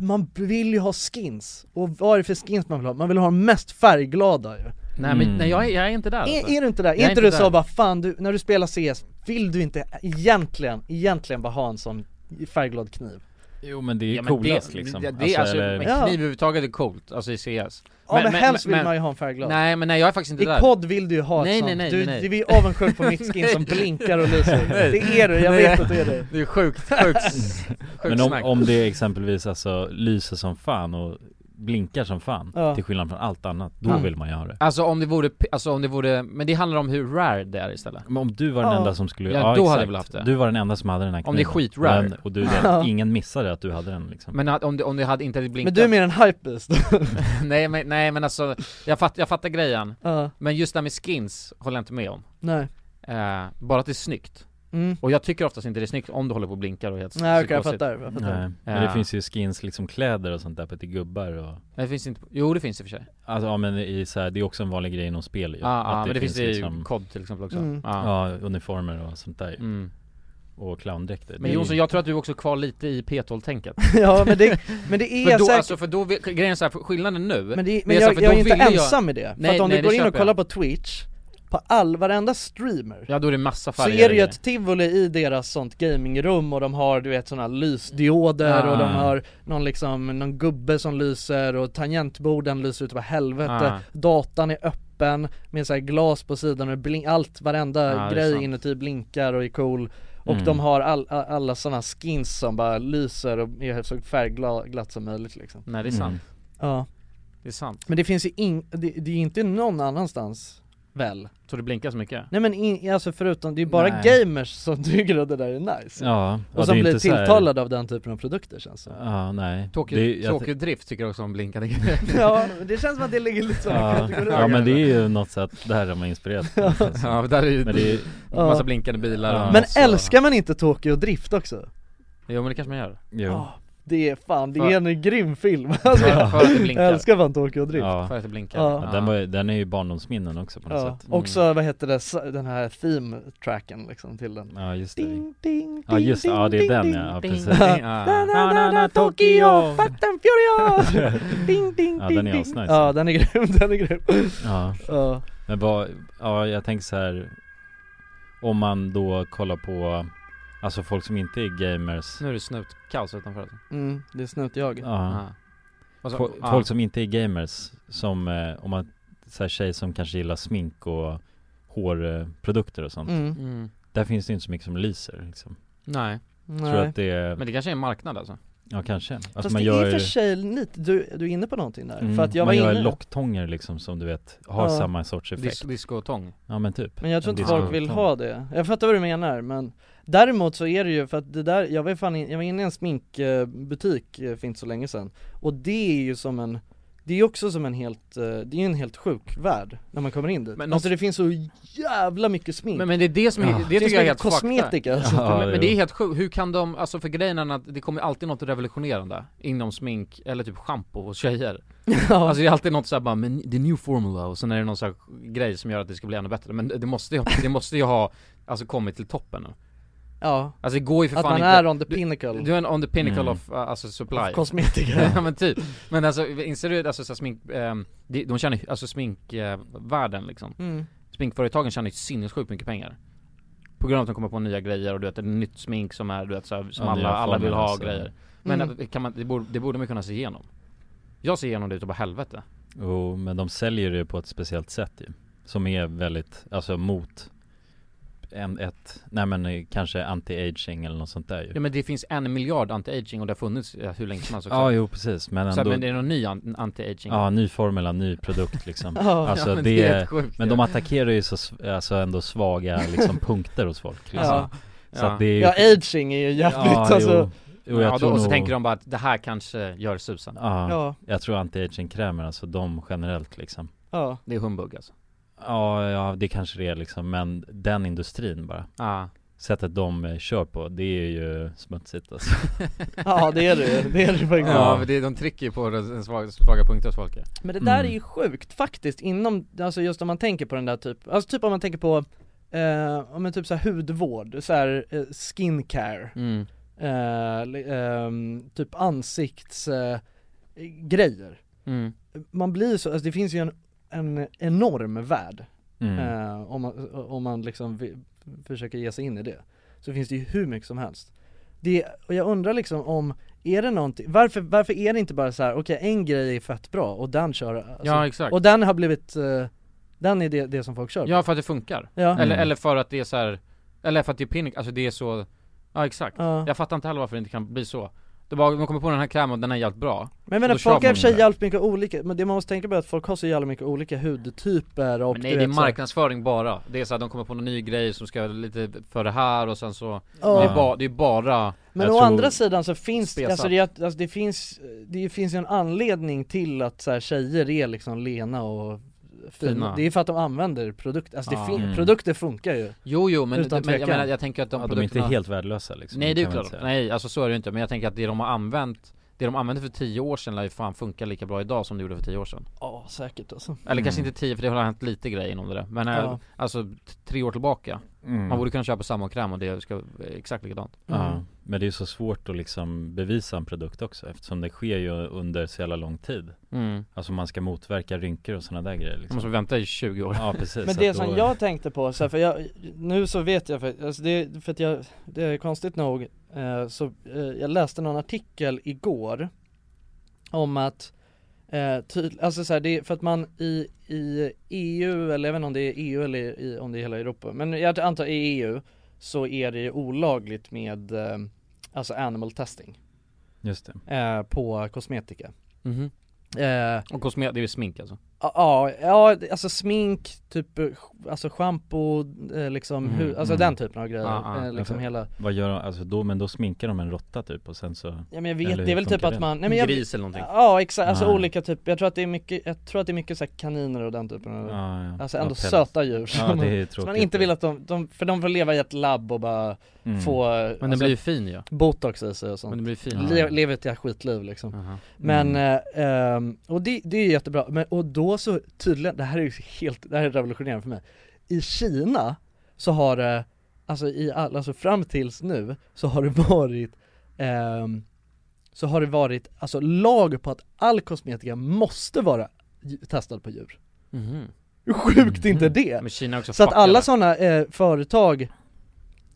A: man vill ju ha skins, och vad är det för skins man vill ha? Man vill ha de mest färgglada ju
B: Nej men nej, jag, är, jag är inte där alltså.
A: Är, är du inte där?
B: Jag
A: Är inte du så
B: där.
A: bara fan du, när du spelar CS, vill du inte egentligen, egentligen bara ha en sån färgglad kniv?
G: Jo men det är ju
B: Ja, men
G: coolast
B: det,
G: liksom
B: Det, det, alltså,
G: eller-
B: men kniv överhuvudtaget är coolt, alltså i CS Ja
A: men helst vill man ju ha en färgglad.
B: Nej men nej jag är faktiskt inte
A: I
B: där
A: podd vill du ju ha ett
B: nej,
A: sånt.
B: nej, nej,
A: Du-
B: nej.
A: du är avundsjuk på mitt skin som
B: *laughs* Nej.
A: blinkar och lyser.
B: *laughs* Nej.
A: Det är du, jag
B: Nej,
A: vet att det är du.
B: Det är sjukt, sjukt,
A: *laughs*
B: sjukt
G: Men om,
B: snack.
G: om det exempelvis alltså lyser som fan och blinkar som fan
B: Ja.
G: Till skillnad från allt annat, då
B: Ja.
G: vill man ju ha det
B: Alltså om det vore, p- alltså om det vore, men det handlar om hur rare det är istället
G: Men om du var den enda som skulle,
B: ja, då hade jag väl haft det
G: Du var den enda som hade den här
B: Om det är
G: kniven.
B: skitrare.
G: Men- Och du,
B: Ja.
G: ingen missade att du hade den liksom
B: Men att- om det, om det hade inte hade
A: Men
B: blinkat
A: du är mer en hypebeast.
B: *laughs* nej, men, nej men alltså, jag, fatt, jag fattar grejen
A: *laughs* Ja.
B: Men just det här med skins håller jag inte med om
A: Nej.
B: eh, Bara att det är snyggt
A: Mm.
B: Och jag tycker oftast inte det är snyggt om du håller på och blinkar och är helt
A: Nej, okej, jag
B: psykosigt.
A: fattar, jag fattar.
G: Nej. Men det finns ju skins liksom kläder och sånt där på till gubbar och
B: Nej det finns inte, jo det finns i och för sig
G: Alltså ja men i så här, det är också en vanlig grej inom spel ju.
B: Ja, ja, Ah, men det finns i COD till exempel också. Mm.
G: liksom- Ja. uniformer och sånt där ju.
B: Mm.
G: Och clowndräkter Det
B: Men
G: är
B: Jonsson,
G: ju-
B: jag tror att du är också kvar lite i P12-tänket
A: *laughs* Ja, men det- men
B: *laughs*
A: det är
B: för då,
A: säkert-
B: Alltså, för då, vill- grejen är så här, för skillnaden nu
A: Men, det,
B: är
A: men
B: så här,
A: jag,
B: för
A: jag
B: då
A: är inte
B: vill jag-
A: ensam i det, för att om
B: nej,
A: du
B: det
A: går in och
B: köper jag.
A: kollar på Twitch, på all, varenda streamer
B: Ja då är det massa
A: så
B: färger
A: är det ju
B: och
A: ett tivoli i deras sånt gamingrum och de har du vet såna här lysdioder
B: Ah.
A: och de har någon liksom, någon gubbe som lyser och tangentborden lyser utav helvete
B: Ah.
A: Datan är öppen med så här glas på sidan och blink, allt, varenda
B: Ah, det är
A: grej
B: sant.
A: inuti blinkar och är cool och
B: Mm.
A: de har all, all, alla såna skins som bara lyser och är så färgglatt som möjligt liksom
B: Nej
G: Mm.
B: det är sant
A: Ja
B: Det är sant
A: men det finns ju ing, det, det är inte någon annanstans Väl?
B: Så det blinkar så mycket?
A: Nej men in, alltså förutom, det är ju bara
B: Nej.
A: gamers som tycker att det där är nice
G: Ja, ja, det
A: Och
G: är
A: som blir
G: inte så här-
A: tilltalade av den typen av produkter känns det
G: Ja, nej
B: Tråkig,
G: Det- jag-
B: tråkig drift tycker jag också om blinkande grejer
A: *laughs* Ja, det känns som att det ligger lite så *laughs*
G: Ja, ja men det är ju något sätt, där är man inspirerad
B: *laughs* Ja, där är ju
G: Men det är-
B: massa blinkande bilar och-
A: Men
B: så-
A: älskar man inte Tokyo Drift också?
B: Jo men det kanske man gör
G: Jo.
A: Ah, det är fan, det
B: För-
A: är en grym film alltså,
B: För- för att det
A: *laughs*
B: blinkar.
A: Jag älskar fan Tokyo Drift
G: Ja.
B: För att det blinkar.
A: Ja.
G: Ja, den, var, ju- den är ju barndomsminnen också på något
A: Ja,
G: sätt Mm.
A: också vad heter det, s- den här theme-tracken liksom till den
G: Ja just det
A: Ding, ding,
G: Ja just det, ja det är den
A: ding,
G: ja, ja
A: ding,
G: precis
A: ding.
B: *laughs*
G: Ja.
A: Na, na, na, na, Tokyo, fast and furious!
G: *laughs*
A: Ding, ding,
G: Ja
A: ding,
G: den är
A: ding.
G: asnice
A: Ja den är grym, *laughs* den är grym
G: Ja.
A: Ja.
G: Men vad, ja jag tänker så här Om man då kollar på Alltså folk som inte är gamers
B: Nu är det snutkaos utanför alltså.
A: Mm, det är snut jag
G: Ja.
B: Och så-
G: Fo-
B: Alltså, ja.
G: Folk som inte är gamers Som, eh, om man, så här tjejer som kanske gillar smink och hårprodukter och sånt
B: Mm. Mm.
G: Där finns det inte så mycket som lyser liksom
B: Nej.
G: Tror att det är,
B: Men det kanske är en marknad alltså?
G: ja kanske Alltså
A: Fast det är i och för sig lite, du, du är inne på någonting där,
G: Mm,
A: för att jag var
G: man
A: inne
G: gör locktånger liksom som du vet har
A: Ja.
G: samma sorts effekt
B: Dis- Discotång?
G: Ja men typ
A: Men jag tror
G: En
A: inte folk
G: disco-
A: vill ha det, jag fattar vad du menar men Däremot så är det ju för att det där, jag var ju fan in, jag var inne i en sminkbutik eh, för inte så länge sedan Och det är ju som en, det är ju också som en helt, eh, det är ju en helt sjuk värld när man kommer in dit
B: Men
A: Alltså det finns så jävla mycket smink
B: Men, men det är det som, är,
A: Ja.
B: det
A: finns
B: tycker jag är
A: mycket
B: helt
A: kosmetika
B: fucked.
A: alltså.
B: men, men det är helt sjukt, hur kan de, alltså för grejen är att det kommer alltid något revolutionerande inom smink, eller typ schampo hos tjejer Alltså det är alltid något såhär bara, men the new formula och sen är det någon sån här grej som gör att det ska bli ännu bättre Men det måste ju, det måste ju ha, alltså kommit till toppen nu
A: Ja.
B: Alltså det går ju för
A: Att
B: fan
A: man
B: inte
A: är on the
B: Du-
A: pinnacle.
B: Du, är on the pinnacle
A: Mm.
B: of, uh, alltså supply
A: Of kosmetika.
B: *laughs* Ja men typ, men alltså inser du, alltså så här, smink, ehm, de, de tjänar ju- alltså sminkvärlden liksom
A: Mm.
B: Sminkföretagen tjänar ju sinnessjukt mycket pengar På grund av att de kommer på nya grejer och du vet, det är nytt smink som är du vet så här, som
G: Ja,
B: alla,
G: nya
B: alla vill
G: former,
B: ha
G: alltså.
B: grejer Men
G: Mm.
B: eh, kan man, det borde, det borde man kunna se igenom Jag ser igenom det utav bara helvete
G: Jo men de säljer det på ett speciellt sätt ju Som är väldigt, alltså mot en, ett, nej men eh, kanske anti-aging eller något sånt där ju
B: Ja men det finns en miljard anti-aging och det har funnits eh, hur länge som helst också.
G: Ja, jo, precis, men
B: så, här,
G: ändå-
B: Men det är någon ny an- anti-aging
G: Ja, ny formel, ny
A: *laughs*
G: produkt liksom
B: Ja. *laughs*
G: Alltså
B: Ja,
G: det,
B: men det är
G: är,
B: helt sjukt,
G: men
B: ja.
G: de attackerar ju så, s- alltså ändå svaga liksom punkter hos folk liksom.
B: Ja.
G: Så
B: Ja.
G: att det är ju
A: Ja aging är ju jävligt
G: Ja, jo.
A: alltså
G: Jo, jag
B: ja, då,
G: tror
B: och så
G: nog-
B: tänker de bara att det här kanske gör susen
G: Ja,
A: Ja.
G: jag tror anti-aging-krämer, alltså de generellt liksom
A: Ja.
B: Det är humbug alltså
G: Ja, ja det kanske det är liksom, men den industrin bara
B: Ja.
G: Sättet de eh, kör på, det är ju smutsigt alltså
A: *laughs* Ja det är det ju, det är det faktiskt
B: Ja, men det, de trycker ju på den svaga, svaga punkter hos folk ja.
A: Men det där
B: Mm.
A: är ju sjukt faktiskt inom, alltså just om man tänker på den där typ, alltså typ om man tänker på, eh, om man typ så här hudvård, så här eh, skincare,
B: Mm.
A: eh, li- ehm, typ ansikts eh, grejer.
B: Mm.
A: Man blir så, alltså det finns ju en, en enorm värld,
B: Mm.
A: eh, om, man, om man liksom vi, försöker ge sig in i det. Så finns det ju hur mycket som helst. Det, och jag undrar liksom om, är det någonting, varför, varför är det inte bara så här, okej en grej är fett bra och den kör alltså,
B: Ja, exakt.
A: Och den har blivit, eh, den är det, det som folk kör på.
B: Ja för att det funkar.
A: Ja.
B: Eller,
A: Mm.
B: eller för att det är så här, eller för att det är pinnick, alltså det är så, ja exakt.
A: Ja.
B: Jag fattar inte heller varför det inte kan bli så. Det var, man kommer på den här krämen och den är jävligt bra.
A: Men jag
B: Och
A: menar
B: då
A: folk
B: kör
A: har i
B: man
A: och för sig
B: den.
A: jävligt mycket olika, men det man måste tänka på är att folk har så jävla mycket olika hudtyper och
B: Men
A: du
B: nej det är
A: vet så här-
B: marknadsföring bara. Det är så här, de kommer på någon ny grej som ska lite för det här och sen så,
A: Ja.
B: det, är ba, det är bara
A: Men
B: Jag
A: å
B: tror-
A: andra sidan så finns det,
B: spesat.
A: alltså det, är att- alltså det finns, det finns ju en anledning till att så här, tjejer är liksom lena och fina
B: Fina.
A: Det är för att de använder produkter, alltså det
B: Ja.
A: fin-
B: Mm.
A: produkter funkar ju
B: Jo jo men,
A: Utan
B: men jag
A: tvekan.
B: menar jag tänker att de
G: Ja, de är
B: produkterna...
G: inte helt värdelösa, liksom.
B: Nej
G: Det
B: det är ju
G: kan man
B: klart,
G: inte
B: nej alltså så är det ju inte men jag tänker att det de har använt Det de använde för 10 år sedan lär ju fan funka lika bra idag som det gjorde för 10 år sedan
A: Ja säkert alltså
B: Eller kanske inte 10 för det har hänt lite grejer inom det där Men eh,
A: Ja.
B: alltså t- tre år tillbaka
G: Mm.
B: Man borde kunna köpa samma kräm och det ska eh, exakt likadant
A: Mm.
G: Ja, men det är ju så svårt att liksom bevisa en produkt också eftersom det sker ju under så jävla lång tid
B: Mm.
G: Alltså man ska motverka rynkor och sådana där grejer liksom.
B: Man måste vänta i 20 år.
G: Ja
A: *laughs*
G: precis
A: Men
G: så
A: det
G: att
A: som
G: då-
A: jag tänkte på, så här, för jag, nu så vet jag för, alltså det, för att jag, det är konstigt nog, eh, så eh, jag läste någon artikel igår om att Eh, tyd, alltså så här, det är för att man i, i EU, eller jag vet inte om det är EU eller i, om det är hela Europa, men jag antar i EU så är det ju olagligt med eh, alltså animal testing
G: Just det
A: eh, på kosmetika.
B: Mhm.
A: Eh,
B: Och kosmetika, det är smink alltså?
A: Ja, ja, alltså smink, typ, eh, alltså schampo, eh, liksom,
G: Mm,
A: hu- alltså
G: mm.
A: den typen av grejer, eh, liksom hela
G: Vad gör de? Alltså då, men då sminkar de en råtta typ och sen så
A: Ja men jag vet,
G: Eller
A: det är
G: hur
A: väl typ
G: funkar
A: att
G: det?
A: man, nej men jag, Ja exakt,
G: Ah.
A: alltså olika typer, jag tror att det är mycket, jag tror att det är mycket så här kaniner och den typen av,
G: Ja, ja.
A: alltså ändå
G: Ah. Ja, pellets.
A: söta djur som,
G: Ja, det är
A: som man
G: tråkigt.
A: inte vill att de, de, för de får leva i ett labb och bara
G: Mm.
A: få
B: Men den blir ju fin, ja.
A: Botox i sig och sånt
B: Men den blir fin.
A: Le, Alltså, Lever ett jävla skitliv liksom Men, eh, ehm, och det, det är ju jättebra, men och då så tydligen, det här är ju helt, det här är revolutionerande för mig I Kina så har det, alltså i all, alltså fram tills nu så har det varit ehm, så har det varit alltså lag på att all kosmetika måste vara dj- testad på djur. Hur sjukt är inte det?
B: Men Kina är också
A: Mm-hmm. så att
B: fuckade.
A: alla sådana eh, företag,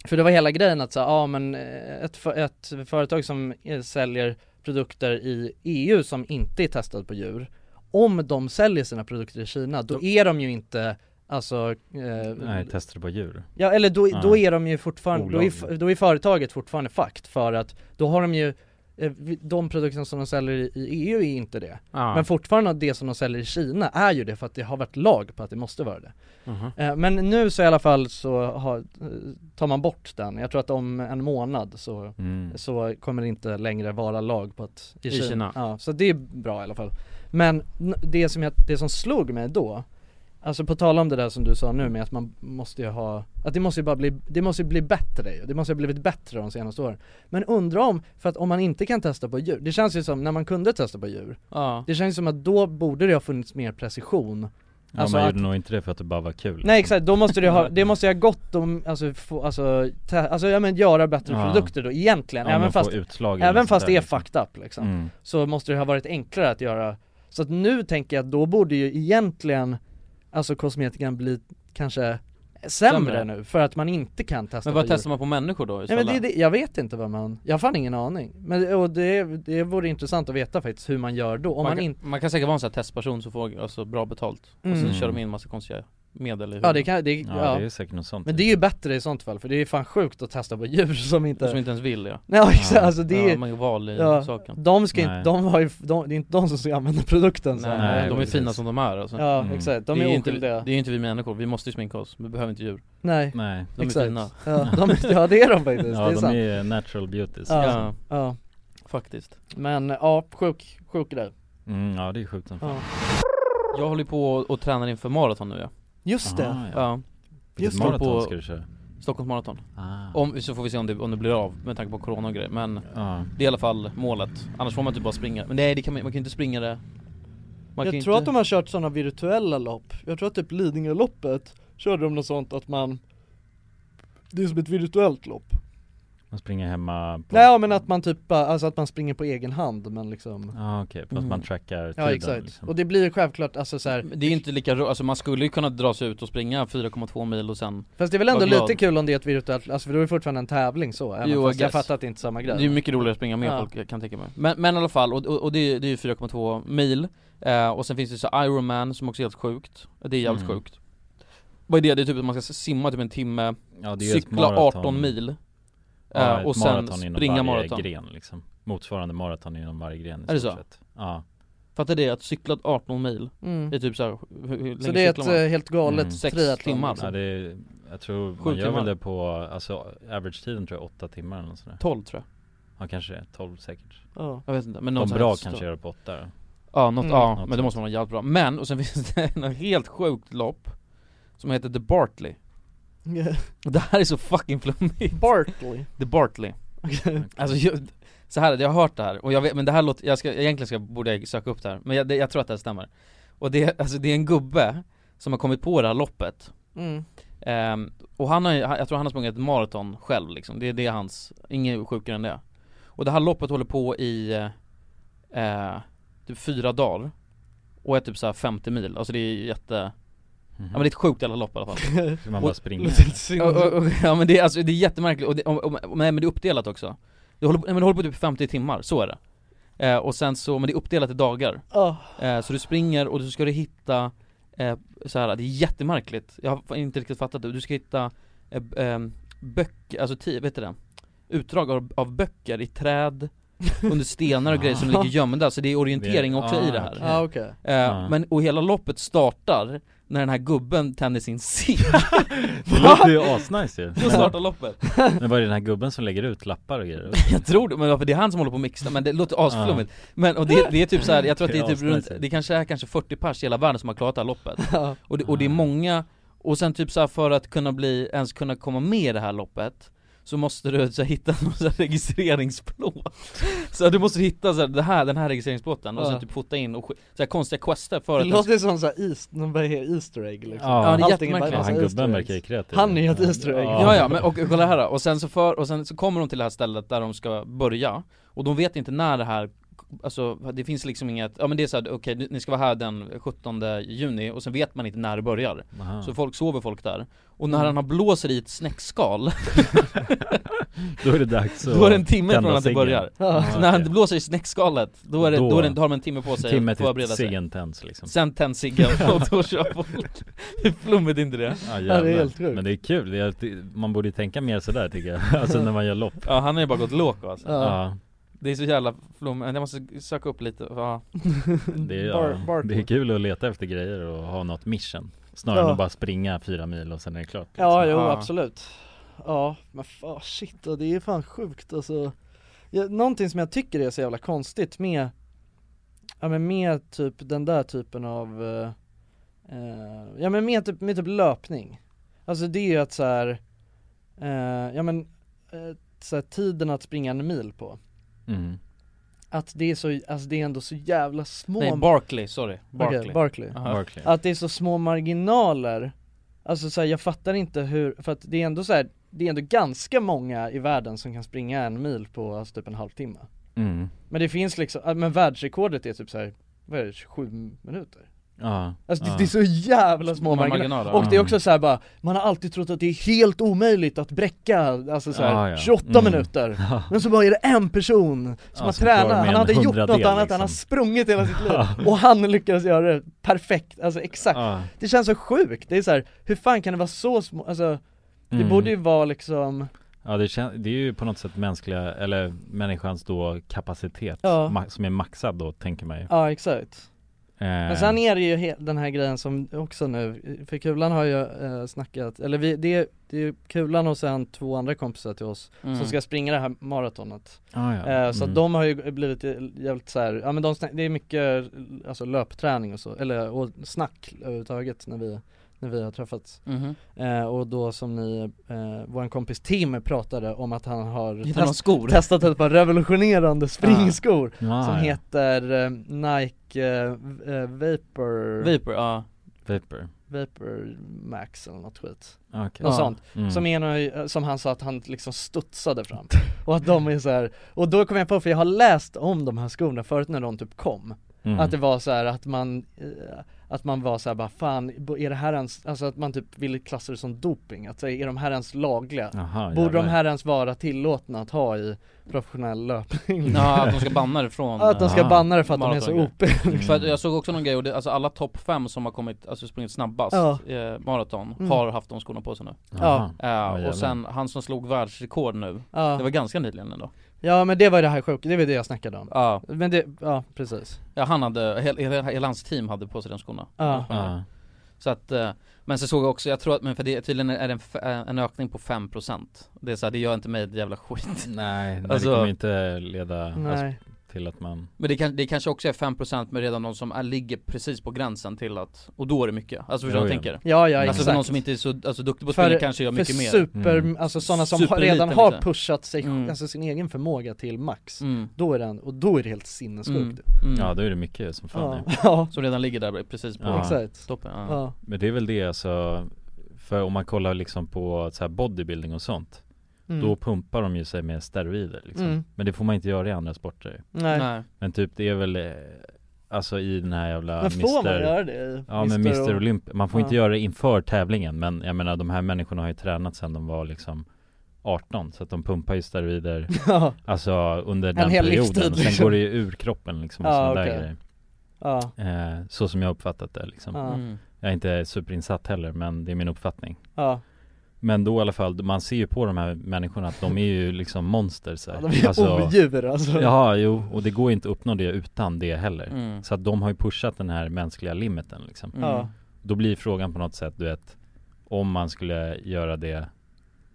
A: för det var hela grejen att säga, ja men eh, ett, för- ett företag som eh, säljer produkter i EU som inte är testad på djur, om de säljer sina produkter i Kina, då är de ju inte Alltså, eh,
G: Nej, testar på djur
A: Ja eller då, då
G: Ja.
A: är de ju fortfarande, då är,
G: Olagligt.
A: då är företaget fortfarande fakt för att då har de ju eh, vi- de produkterna som de säljer i- i EU är inte det.
B: Ja.
A: Men fortfarande det som de säljer i Kina är ju det för att det har varit lag på att det måste vara det.
B: Mhm.
A: Eh, Men nu så i alla fall så har, eh, tar man bort den. Jag tror att om en månad så,
G: Mm.
A: så kommer det inte längre vara lag på att i,
B: I
A: Kina.
B: Kina.
A: Ja, så det är bra i alla fall. Men n- det som, jag, det som slog mig då, alltså på tal om det där som du sa nu med att man måste ju ha, att det måste ju bara bli, det måste ju bli bättre ju. det måste ju ha blivit bättre de senaste åren. Men undra om, för att om man inte kan testa på djur, det känns ju som när man kunde testa på djur,
B: Ja.
A: det känns som att då borde det ha funnits mer precision. Alltså
G: Ja man
A: att-
G: gjorde nog inte det för att det bara var kul
A: Nej exakt, då måste det ha, det måste ju ha gått om, alltså, få, alltså, te, alltså ja men göra bättre
G: Ja.
A: produkter då egentligen,
G: Ja,
A: även
G: men få
A: fast,
G: utslag eller
A: även
G: något
A: fast
G: sånt
A: det är
G: där, liksom.
A: fucked up liksom,
G: Mm.
A: så måste det ha varit enklare att göra Så att nu tänker jag att då borde ju egentligen, alltså kosmetikan bli kanske sämre,
B: Sämre.
A: nu, för att man inte kan testa
B: Men vad
A: på djur.
B: testar man på människor då i
A: Nej men det,
B: sådana?
A: är det, jag vet inte vad man, jag har fan ingen aning. Men och det, det vore intressant att veta faktiskt hur man gör då, om man,
B: man, kan-
A: inte
B: man kan säkert vara en sån här testperson som får alltså, bra betalt och
A: Mm.
B: sen kör de in massa konstiga medel i
A: Ja
B: huvudet.
A: det kan, det,
G: Ja,
A: ja,
G: det är säkert något sånt. typ.
A: Men det är ju bättre i sånt fall, för det är ju fan sjukt att testa på djur *laughs* som inte
B: Som inte ens vill, ja.
A: Nej exakt,
B: Ja.
A: alltså det är
B: Ja, man är val i saken.
A: De ska inte,
B: Nej.
A: de har ju, de, det är inte de som ska använda produkten sen.
B: Nej, de är fina som de är alltså.
A: Ja exakt, de
B: det
A: är,
B: ju inte,
A: oskyldiga
B: Det är ju inte vi människor, vi måste ju sminka oss, vi behöver inte djur
A: Nej.
G: Nej.
B: De
A: Exakt.
B: är fina
A: Ja, de- ja, *laughs* det är de faktiskt,
G: Ja
A: det är
G: de
A: sant.
G: är natural beauties
A: Ja,
B: Ja.
A: ja.
B: Faktiskt
A: Men ja, sjuk, sjuk grej
G: mm, Ja det är sjukt som fan
A: ja.
B: Jag håller ju på och, och tränar inför maraton nu ja
A: Just det. Ah,
B: ja, ja.
G: Vilket
B: Jag håller
G: maraton ska du köra?
B: Stockholms maraton
G: Ah.
B: om, Så får vi se om det, om det blir av med tanke på corona och grejer men Det är i alla fall målet, annars får man typ bara springa Men nej det kan man, man kan ju inte springa det man kan ju
A: Jag tror
B: inte...
A: att de har kört sådana virtuella lopp, jag tror att typ Lidingöloppet körde de något sånt att man Det är som ett virtuellt lopp
G: Man springer hemma på...
A: Nej ja, men att man typ bara- alltså att man springer på egen hand men liksom
G: ah, okej, för att
B: Mm.
G: man trackar tiden liksom.
A: Ja liksom. exakt, och det blir ju självklart alltså så här,
B: Men Det är ju inte lika ro- alltså man skulle ju kunna dra sig ut och springa 4,2 mil och sen
A: Fast det är väl ändå
B: vara glad.
A: lite kul om det är ett virtuellt, alltså för då är det fortfarande en tävling så, även
B: Jo,
A: fast jag
B: guess.
A: fattar att det inte är samma grej
B: Det är ju mycket roligare att springa med
A: Ja.
B: folk, jag kan tänka mig Men, men i alla fall, och, och, och det, är- det är ju 4,2 mil eh, Och sen finns det så Ironman som också är helt sjukt Det är jävligt
G: Mm.
B: sjukt Vad är det? Det är typ att man ska simma typ en timme
G: Ja, det är ju ett
B: Cykla
G: maraton.
B: 18 mil
G: Ja,
B: eh,
G: ett
B: Och sen
G: maraton inom
B: springa
G: varje
B: maraton
G: gren liksom Motsvarande maraton inom varje gren i
B: Är det
G: stort
B: så?
G: sett. Ja
B: Fattar det? Att cykla 18 mil
A: Mm.
B: Det är typ såhär, hur, hur
A: Så
B: länge
A: det är ett
B: cyklar man?
A: eh, helt galet
B: Mm. Sex
A: triathlon
B: timmar
A: liksom.
G: Ja, det är, jag tror man
B: Sju
G: gör
B: timmar.
G: väl det på, alltså average-tiden tror jag åtta timmar eller nåt
A: eh,
G: sånt där.
B: 12 tror
G: Ja kanske det, 12 säkert
A: Ja.
B: Jag vet inte, men någon
G: De
B: sån här
G: bra
B: stor-
G: kanske gör det på åtta då.
B: Ja, något,
G: Mm.
B: ja
G: Något
B: men
G: sånt.
B: det måste man vara jävligt bra Men, och sen *laughs* finns det något helt sjukt lopp Som heter The Bartley
A: *laughs*
B: Och det här är så fucking flummigt
A: Bartley?
B: The Bartley *laughs* Alltså jag, så här, jag har hört det här och jag vet, men det här låter, jag ska, egentligen ska, borde jag söka upp det här Men jag, det, jag tror att det här stämmer Och det, alltså det är en gubbe som har kommit på det här loppet
A: *laughs* Mm.
B: Ehm, och han har, ju- han- jag tror han har sprungit ett maraton själv liksom. det, det är hans, inget sjukare än det Och det här loppet håller på i eh, typ fyra dagar Och är typ såhär 50 mil, alltså det är jätte Ja men det är ett sjukt jävla lopp i alla fall
G: Så man bara
B: Och- *laughs*
G: springer.
B: och,
A: Typ-
B: och, och, Ja men det är, alltså, det är jättemärkligt, och det, och, och, och, nej men det är uppdelat också det håller, på- nej, men det håller på typ 50 timmar, så är det eh, Och sen så, men det är uppdelat i dagar
A: Ja.
B: eh, Så du springer och så ska du hitta eh, så här, det är jättemärkligt Jag har inte riktigt fattat det, du ska hitta eh, b- ehm, böcker, alltså ti, vet du det? Utdrag av, av böcker i träd
A: *laughs*
B: under stenar och grejer som ligger gömda, så det är orientering
J: Det-
B: också
J: ah,
B: i det här.
J: okej. Ah, okej.
B: Eh,
J: Ah.
B: Men, och hela loppet startar när den här gubben tänder
J: *laughs*
B: sin cigg.
G: Det låter ju asnice ju
B: Då startar loppet.
G: Men var det den här gubben som lägger ut lappar och grejer?
B: Jag tror det, men varför det är han som håller på och mixar, men det låter asflummigt
G: Ja.
B: Men och det, det är typ så här, jag tror att det är
G: Det är
B: typ runt,
G: asnice.
B: det kanske är kanske 40 pers i hela världen som har klarat det här loppet
A: Ja.
B: och, det, och det är många, och sen typ så här för att kunna bli, ens kunna komma med i det här loppet så måste du så här, hitta *laughs* någon så här registreringsplåt Så du måste hitta så här, det här, den här registreringsplåten och
A: Ja.
B: sen typ fota in och sk- så här konstiga quester för
A: Det
B: att
A: låter som såhär is, någon bara är Easter egg liksom
B: Ja, det är
A: Allting bara
B: jättemärkligt.
A: massa
B: Han gubben
A: Easter eggs.
B: verkar ju kreativ.
A: Han är ju ett Easter egg
B: Ja ja, men och, och kolla här då. och sen så för, och sen så kommer de till det här stället där de ska börja Och de vet inte när det här Alltså det finns liksom inget, ja men det är såhär, okej ni- ni ska vara här den 17 juni och sen vet man inte när det börjar
G: Aha.
B: Så folk sover folk där Och när
G: Mm.
B: han har blåser i ett
G: *laughs*
B: snäckskal
G: Då är det dags att
B: Då är det en timme
G: tända
B: från att det
G: ciggen.
B: börjar
G: Ja.
B: Så *laughs* när han blåser i snäckskalet, då, är det, då, är det, då har de en timme på sig
G: Timme
B: att
G: till
B: förbereda sig
G: ciggen tänds, liksom.
B: Sen tänds ciggen
G: *laughs*
B: och då kör folk Hur flummigt är inte det?
G: Ja, jävlar. Men det är kul, det är, alltid- man borde ju tänka mer sådär tycker jag *laughs* Alltså när man gör lopp
B: Ja han har ju bara gått låg alltså
G: Ja,
B: Det är så jävla flum, jag måste söka upp lite, ja
G: Det, är, ja, det är kul att leta efter grejer och ha något mission Snarare
A: Ja.
G: än att bara springa fyra mil och sen är det klart
A: Ja, jo
G: liksom.
A: absolut. Ja, men fan shit, och det är fan sjukt alltså. Ja, någonting som jag tycker är så jävla konstigt med, ja men med typ den där typen av, eh, eh, ja men med typ, med typ löpning. Alltså det är ju att så här, eh, ja men, eh, så här, tiden att springa en mil på.
G: Mm.
A: Att det är så, alltså det är ändå så jävla små
B: Nej Barkley, sorry,
A: Okej,
B: Barkley
A: Barkley.
B: Aha.
A: Att det är så små marginaler Alltså så här, jag fattar inte hur, för att det är ändå så här, det är ändå ganska många i världen som kan springa en mil på alltså typ en halvtimme
G: Mm.
A: Men det finns liksom, äh, men världsrekordet är typ så här, vad är det, 27 minuter?
G: Ja,
A: Alltså
G: ja.
A: det, det är så jävla små
B: Små
A: marginaler,
B: marginaler,
A: och
B: ja.
A: det är också så här bara, man har alltid trott att det är helt omöjligt att bräcka, alltså så här,
G: Ja, ja.
A: 28
G: Mm.
A: minuter
G: Ja.
A: Men så bara är det en person som
G: Ja,
A: har
G: som klarar
A: tränat,
G: med
A: han
G: en
A: hade gjort något
G: hundradel,
A: annat, han
G: liksom.
A: har sprungit hela sitt liv
G: Ja.
A: och han lyckades göra det perfekt, alltså exakt
G: Ja.
A: Det känns så sjukt, det är så här, hur fan kan det vara så små, alltså det
G: Mm.
A: borde ju vara liksom
G: Ja det, kän- det är ju på något sätt mänskliga, eller människans då kapacitet
A: Ja.
G: ma- som är maxad då tänker man ju
A: Ja exakt
G: Eh,
A: Men sen är det ju he- den här grejen som också nu, för Kulan har ju eh, snackat, eller vi, det, är- det är ju Kulan och sen två andra kompisar till oss
B: Mm.
A: som ska springa det här maratonet
G: Ah, ja.
A: eh, Så
G: Mm.
A: att de har ju blivit jävligt så här, ja men de, snack- det är mycket alltså löpträning och så, eller och snack överhuvudtaget när vi, när vi har träffats
B: Mhm.
A: eh, Och då som ni, eh, våran kompis Tim pratade om att han har
B: Hittar några skor?
A: testat ett par revolutionerande springskor
B: Ah,
A: som
B: ja.
A: heter eh, Nike eh, v- eh, Vapor
B: Vapor, ja
G: Vapor
A: Vapor Max eller något skit
G: Okej.
A: Något
G: Ja.
A: sånt,
G: Mm.
A: som, är någon, som han sa att han liksom studsade
G: *laughs*
A: fram Och att de är så här. och då kom jag på, för jag har läst om de här skorna förut när de typ kom
G: Mm.
A: Att det var så här att man eh, Att man var så här bara fan, är det här ens, alltså att man typ ville klassa det som doping, att så här, är de här ens lagliga?
G: Aha,
A: Borde de
G: jävlar.
A: här ens vara tillåtna att ha i professionell löpning?
B: Ja, att de ska banna det från
A: Ja, *laughs* Att de ska
B: Ah.
A: banna det för att de är så
B: maraton.
A: OP liksom.
B: För att jag såg också någon grej, och det, alltså alla topp fem som har kommit, alltså sprungit snabbast
A: Ja.
B: eh, maraton,
A: Mm.
B: har haft de skorna på sig nu
A: Ja.
B: Eh,
A: Ja, jävlar.
B: Och sen han som slog världsrekord nu,
A: *laughs* Ja.
B: det var ganska nyligen ändå
A: Ja men det var ju det här sjuka, det var det jag snackade om
B: Ja
A: Men det, ja precis
B: Ja han hade, hela, hela, hela hans team hade på sig de skorna
A: Ja.
G: Ja.
B: Så att, eh, men så såg jag också, jag tror att, men för det tydligen är det en, f- eh, en ökning på 5% Det är så här, det gör inte mig ett jävla skit
G: Nej, nej
B: Alltså-
G: det kommer inte leda
B: Nej.
G: Alltså, till att
A: Mm.
G: man
B: Men det, kan, det kanske också är 5% med redan de som är, ligger precis på gränsen till att, och då är det mycket, alltså förstår du vad jag
A: Jo, jo.
B: tänker?
A: Ja, ja,
B: Alltså för
A: exakt.
B: någon som inte är så alltså, duktig på att
A: För-
B: springa kanske gör mycket mer
A: För super, alltså sådana som har, redan
B: Supereliten,
A: har
B: liksom.
A: pushat sig,
B: Mm.
A: alltså sin egen förmåga till max
B: Mm.
A: Då är den, och då är det helt sinnessjukt
B: Mm. Mm.
G: Ja då är det mycket som fan
A: Ja.
G: ja.
A: *laughs* Ja.
B: Som redan ligger där precis på toppen ja.
G: Men det är väl det alltså För om man kollar liksom på så här bodybuilding och sånt
A: Mm.
G: Då pumpar de ju sig med steroider liksom.
A: Mm.
G: Men det får man inte göra i andra sporter
A: Nej. Nej.
G: Men typ det är väl eh, Alltså i den här jävla
A: Men får man
G: Mr.
A: göra det i
G: Ja men
A: Mr. *laughs*
G: Mr
A: och-
G: Olymp Man får
A: Ja.
G: inte göra det inför tävlingen Men jag menar de här människorna har ju tränat sedan de var liksom 18 så att de pumpar ju steroider
A: Ja.
G: Alltså under
A: En
G: den
A: hel
G: perioden
A: livstid,
G: Sen
A: liksom.
G: går det ju ur kroppen liksom och
A: Ja,
G: sådana
A: okej.
G: där grejer
A: Ja.
G: eh, Så som jag har uppfattat det liksom
A: Ja. Mm.
G: Jag är inte superinsatt heller men det är min uppfattning
A: Ja.
G: Men då i alla fall, man ser ju på de här människorna att de är ju liksom monster så här.
A: *laughs* Ja, de är ju odjur, alltså.
G: Ja, jo, och det går inte att uppnå det utan det heller
A: Mm.
G: Så att de har ju pushat den här mänskliga limiten liksom
A: Mm. Ja.
G: Då blir frågan på något sätt, du vet Om man skulle göra det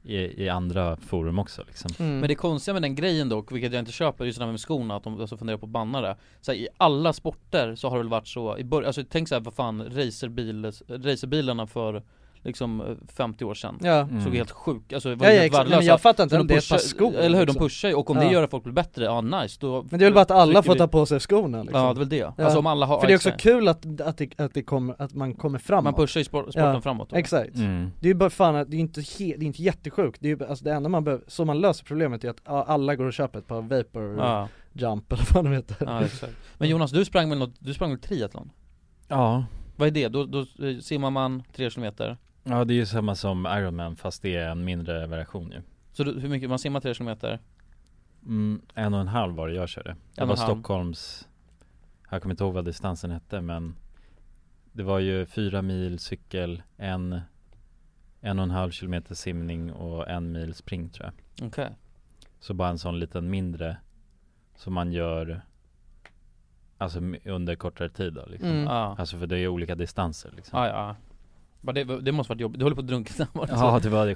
G: i, i andra forum också liksom
A: Mm.
B: Men det konstiga med den grejen dock, vilket jag inte köper, just det här med skorna, att de alltså funderar på att banna det så här, I alla sporter så har det väl varit så, i bör- alltså tänk så här, vad fan, racerbil, racerbilarna för liksom eh, 50 år sedan
A: Ja.
B: Såg
A: Mm.
B: helt sjuk, alltså
A: Ja,
B: var
A: ja,
B: helt
A: exakt. Nej,
B: värdelösa
A: men jag fattar inte
B: Så
A: om
B: de
A: det är ett par
B: pushar-
A: skor,
B: Eller hur, de
A: liksom.
B: pushar ju, och om
A: Ja.
B: det gör att folk blir bättre, ja nice då
A: Men det är väl bara att alla får
B: vi-
A: ta på sig skorna liksom.
B: Ja det är väl det, alltså om alla har
A: För det är också
B: exakt.
A: kul att, att, det, att, det kommer, att man kommer framåt
B: Man pushar ju spor- sporten framåt då.
A: Exakt
B: Mm.
A: Det är ju bara fan, att- det är ju inte, he, det är inte jättesjukt, det är ju alltså det enda man behöver, så man löser problemet är att ja, alla går och köper ett par vapor
B: Ja.
A: jump eller vad de heter
B: Ja, exakt. Men Jonas, du sprang väl något, du sprang väl triathlon?
G: Ja
B: Vad är det? Då, då eh, simmar man 3 kilometer
G: Ja det är ju samma som Ironman fast det är en mindre version ju
B: Så du, hur mycket, man simmar 3 kilometer?
G: mm, En och en halv var det jag körde Det
B: och
G: var
B: en halv.
G: Stockholms Jag kommer inte ihåg vad distansen hette men Det var ju fyra mil cykel, en En och en halv kilometer simning och en mil spring tror jag
B: Okej.
G: Så bara en sån liten mindre Som man gör Alltså m- under kortare tid då liksom
B: Mm. Ja.
G: Alltså för det är olika distanser liksom
B: Ja, ja. Men det, det måste varit jobbigt, du håller på att *laughs* drunkna var så?
G: Ja det var det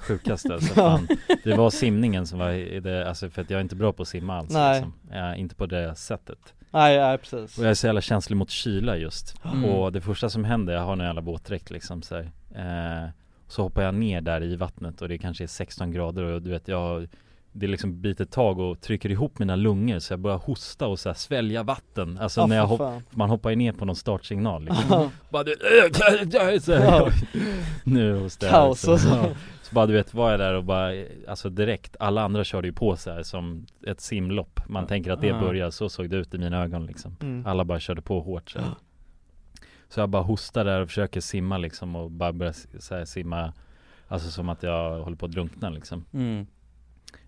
B: *laughs*
G: sjukaste alltså, fan. Det var simningen som var i det, alltså för att jag är inte bra på att simma alls
A: Nej.
G: liksom. ja, Inte på det sättet
A: Nej, nej, precis.
G: Och jag är så jävla känslig mot kyla just
A: Mm.
G: Och det första som händer, jag har en jävla våtdräkt liksom så, här. Eh, så hoppar jag ner där i vattnet och det kanske är 16 grader och du vet jag det liksom biter tag och trycker ihop mina lungor så jag börjar hosta och så här svälja vatten Alltså
A: Ah,
G: när jag
A: för
G: hopp,
A: fan.
G: man hoppar ju ner på någon startsignal
A: Ja. *laughs*
G: liksom. Bara du, så här, *laughs* nu hostar jag
A: Kaos
G: liksom.
A: alltså.
G: Ja. Så bara du vet, var jag där och bara, alltså direkt, alla andra körde ju på så här som ett simlopp Man tänker att det
A: Ja.
G: börjar, så såg det ut i mina ögon liksom
A: Mm.
G: Alla bara körde på
A: *gasps*
G: hårt så här. Så jag bara hostar där och försöker simma liksom och bara börjar s- så här, simma Alltså som att jag håller på att drunkna liksom
B: Mm.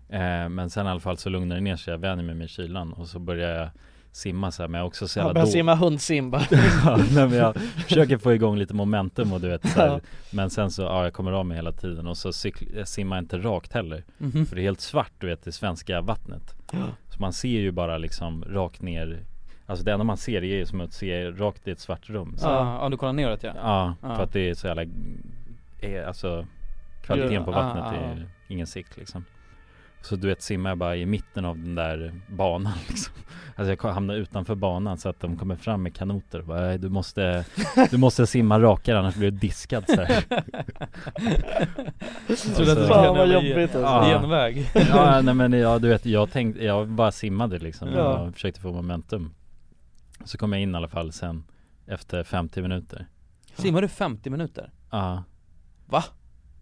G: eh, Men sen i alla fall så lugnar det ner sig, jag vänjer mig med kylan och så börjar jag simma så här, men jag är också så
A: Jag
G: jävla
A: börjar
G: då-
A: simma hundsim
B: *laughs*
A: bara
G: *laughs* ja, nej, men jag försöker få igång lite momentum och du vet så här,
A: Ja.
G: Men sen så, ja jag kommer av mig hela tiden och så cykl- jag simmar inte rakt heller
A: Mhm.
G: För det är helt svart du vet i svenska vattnet
A: Ja.
G: Så man ser ju bara liksom rakt ner Alltså det enda man ser är ju som att se rakt i ett svart rum så.
B: Ja, ja, du kollar neråt ja.
G: Ja,
B: Ja.
G: för att det är så jävla, eh, alltså kvaliteten på
B: Ja,
G: vattnet
B: ja, ja.
G: är ingen sikt liksom Så du vet simmar jag bara i mitten av den där banan *laughs* liksom Alltså jag kom- hamnar utanför banan så att de kommer fram med kanoter och bara, "Nej, du måste, du måste simma rakare annars blir du diskad så
B: *laughs*
G: här. Alltså.
B: Trodde att du
A: Fan, vad jobbigt, alltså. Genväg.
G: Ja nej men ja, du vet jag tänkte, jag bara simmade liksom
A: Ja.
G: och försökte få momentum Så kom jag in i alla fall sen efter 50 minuter
B: Simmar du 50 minuter?
G: Ja
B: Va?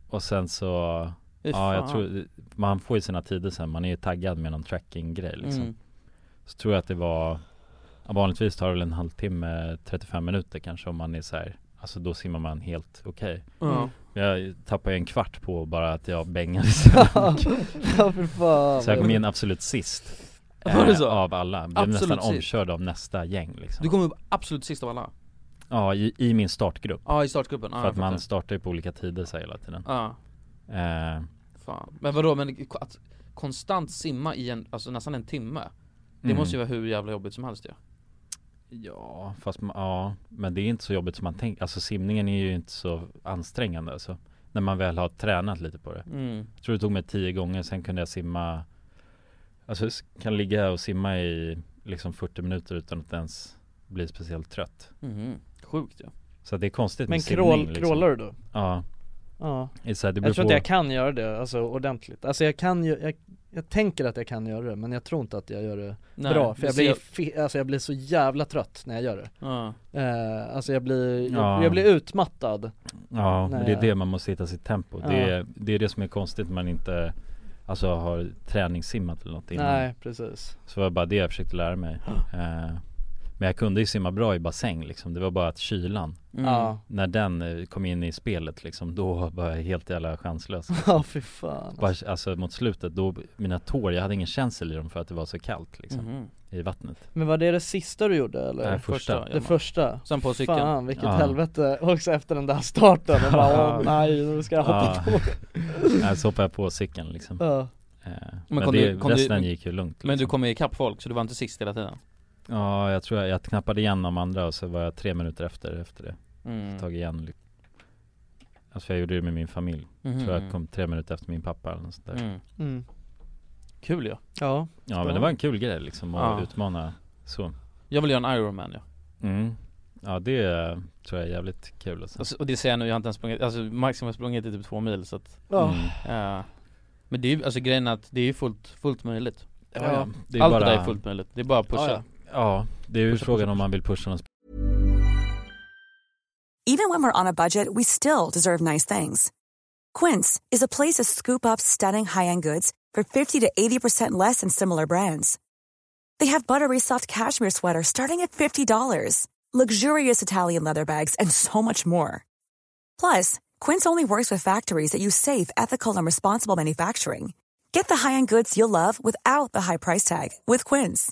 G: Och sen så
B: Fy
G: Ja jag
B: fan.
G: tror, man får ju sina tider sen, man är ju taggad med någon tracking-grej liksom
B: Mm.
G: Så tror jag att det var ja, Vanligtvis tar det väl en halvtimme, 35 minuter kanske om man är så här. Alltså då simmar man helt okej
A: Ja.
G: Jag tappade ju en kvart på bara att jag bängade
B: *laughs*
A: *laughs* Ja, för fan
G: Så jag kom in absolut sist
B: Var det
G: eh,
B: så?
G: Av alla, blev
B: Absolut
G: nästan
B: sist.
G: omkörd av nästa gäng liksom
B: Du kommer upp absolut sist av alla?
G: Ja, i, i min startgrupp
B: Ja, i startgruppen. Ja,
G: För
B: jag
G: att man
B: fattar.
G: startar ju på olika tider så här hela tiden
B: Ja.
G: eh,
B: Fan. Men vadå, men k- att konstant simma i en, alltså nästan en timme? Det
G: Mm.
B: måste ju vara hur jävla jobbigt som helst ju
G: Ja, fast man, ja, men det är inte så jobbigt som man tänker. Alltså simningen är ju inte så ansträngande alltså. När man väl har tränat lite på det.
B: Mm.
G: Jag tror det tog mig tio gånger, sen kunde jag simma Alltså s- kan ligga och simma i liksom 40 minuter utan att ens bli speciellt trött.
B: Mhm. Sjukt ju
G: Så att det är konstigt
A: Men
G: med simning liksom.
A: crawl-
B: liksom.
A: crawlar du då?
G: Ja.
A: Ja
G: Det är så här, det beror
A: Jag tror
G: på-
A: inte jag kan göra det, alltså ordentligt Alltså jag kan ju, jag, jag tänker att jag kan göra det men jag tror inte att jag gör det
B: Nej,
A: bra För
B: det
A: jag
B: ser
A: blir,
B: jag-
A: fe, alltså jag blir så jävla trött när jag gör det
B: Ja.
A: eh, Alltså jag blir, jag,
G: Ja.
A: jag blir utmattad
G: Ja, men
A: när
G: det är
A: jag-
G: det man måste hitta sitt tempo.
A: Ja.
G: Det, är, det är det som är konstigt när man inte Alltså har träningssimmat eller något innan.
A: Nej, precis.
G: Så var det bara det jag försökte lära mig. Eh, Men jag kunde ju simma bra i bassäng liksom. Det var bara att kylan
A: Mm. Ja. *laughs*
G: När den eh, kom in i spelet liksom, då var jag helt
B: *laughs*
G: jävla chanslös
A: Ja, fy fan.
G: bara, Alltså mot slutet, då, mina tår, jag hade ingen känsel i dem för att det var så kallt liksom.
B: Mm-hmm.
A: Mhm.
G: i vattnet
A: Men var det det sista du gjorde eller?
G: Nej, första.
A: Det första?
B: Sen på cykeln.
A: Fan vilket
G: Ja.
A: helvete, också efter den där starten, och bara,
G: *laughs* Ja.
A: åh, nej nu ska jag hoppa
G: Ja.
A: på
G: Ah. *laughs* Nej, så hoppade jag på cykeln liksom
A: Ja.
G: Eh,
B: Men
G: Men,
B: kom
G: det,
B: du- kom du-
G: resten gick ju lugnt liksom.
B: Men du kom ju ikapp folk så du var inte sist hela tiden?
G: Ja, jag tror jag, jag knappade igen de andra och så var jag tre minuter efter, efter det
B: Mm.
G: Tag igen liksom. Alltså jag gjorde det med min familj
B: Mhm.
G: Tror jag kom tre minuter efter min pappa eller något sånt där
B: Mm.
A: Mm.
B: Kul ja
A: Ja
G: Ja men det var en kul grej liksom att
B: Ja.
G: utmana så
B: Jag vill göra en Ironman ja
G: mm. Ja det eh, tror jag är jävligt kul alltså.
B: alltså, Och det säger jag nu, jag har inte ens sprungit, alltså max har jag sprungit i typ två mil så att
A: Ja.
G: Mm.
B: Ja. Men det är ju, alltså grejen är att det är ju fullt, fullt möjligt
A: Ja, ja.
G: Det är
B: Allt
G: bara-
B: det där är fullt möjligt, det är bara att pusha
A: Ja, *laughs* ja.
G: Ja, det är ju
B: Pusha,
G: frågan
B: pusha,
G: om man vill pusha någon
D: Even when we're on a budget, we still deserve nice things. Quince is a place to scoop up stunning high-end goods for 50 to 80% less than similar brands. They have buttery soft cashmere sweaters starting at $50, luxurious Italian leather bags, and so much more. Plus, Quince only works with factories that use safe, ethical, and responsible manufacturing. Get the high-end goods you'll love without the high price tag with Quince.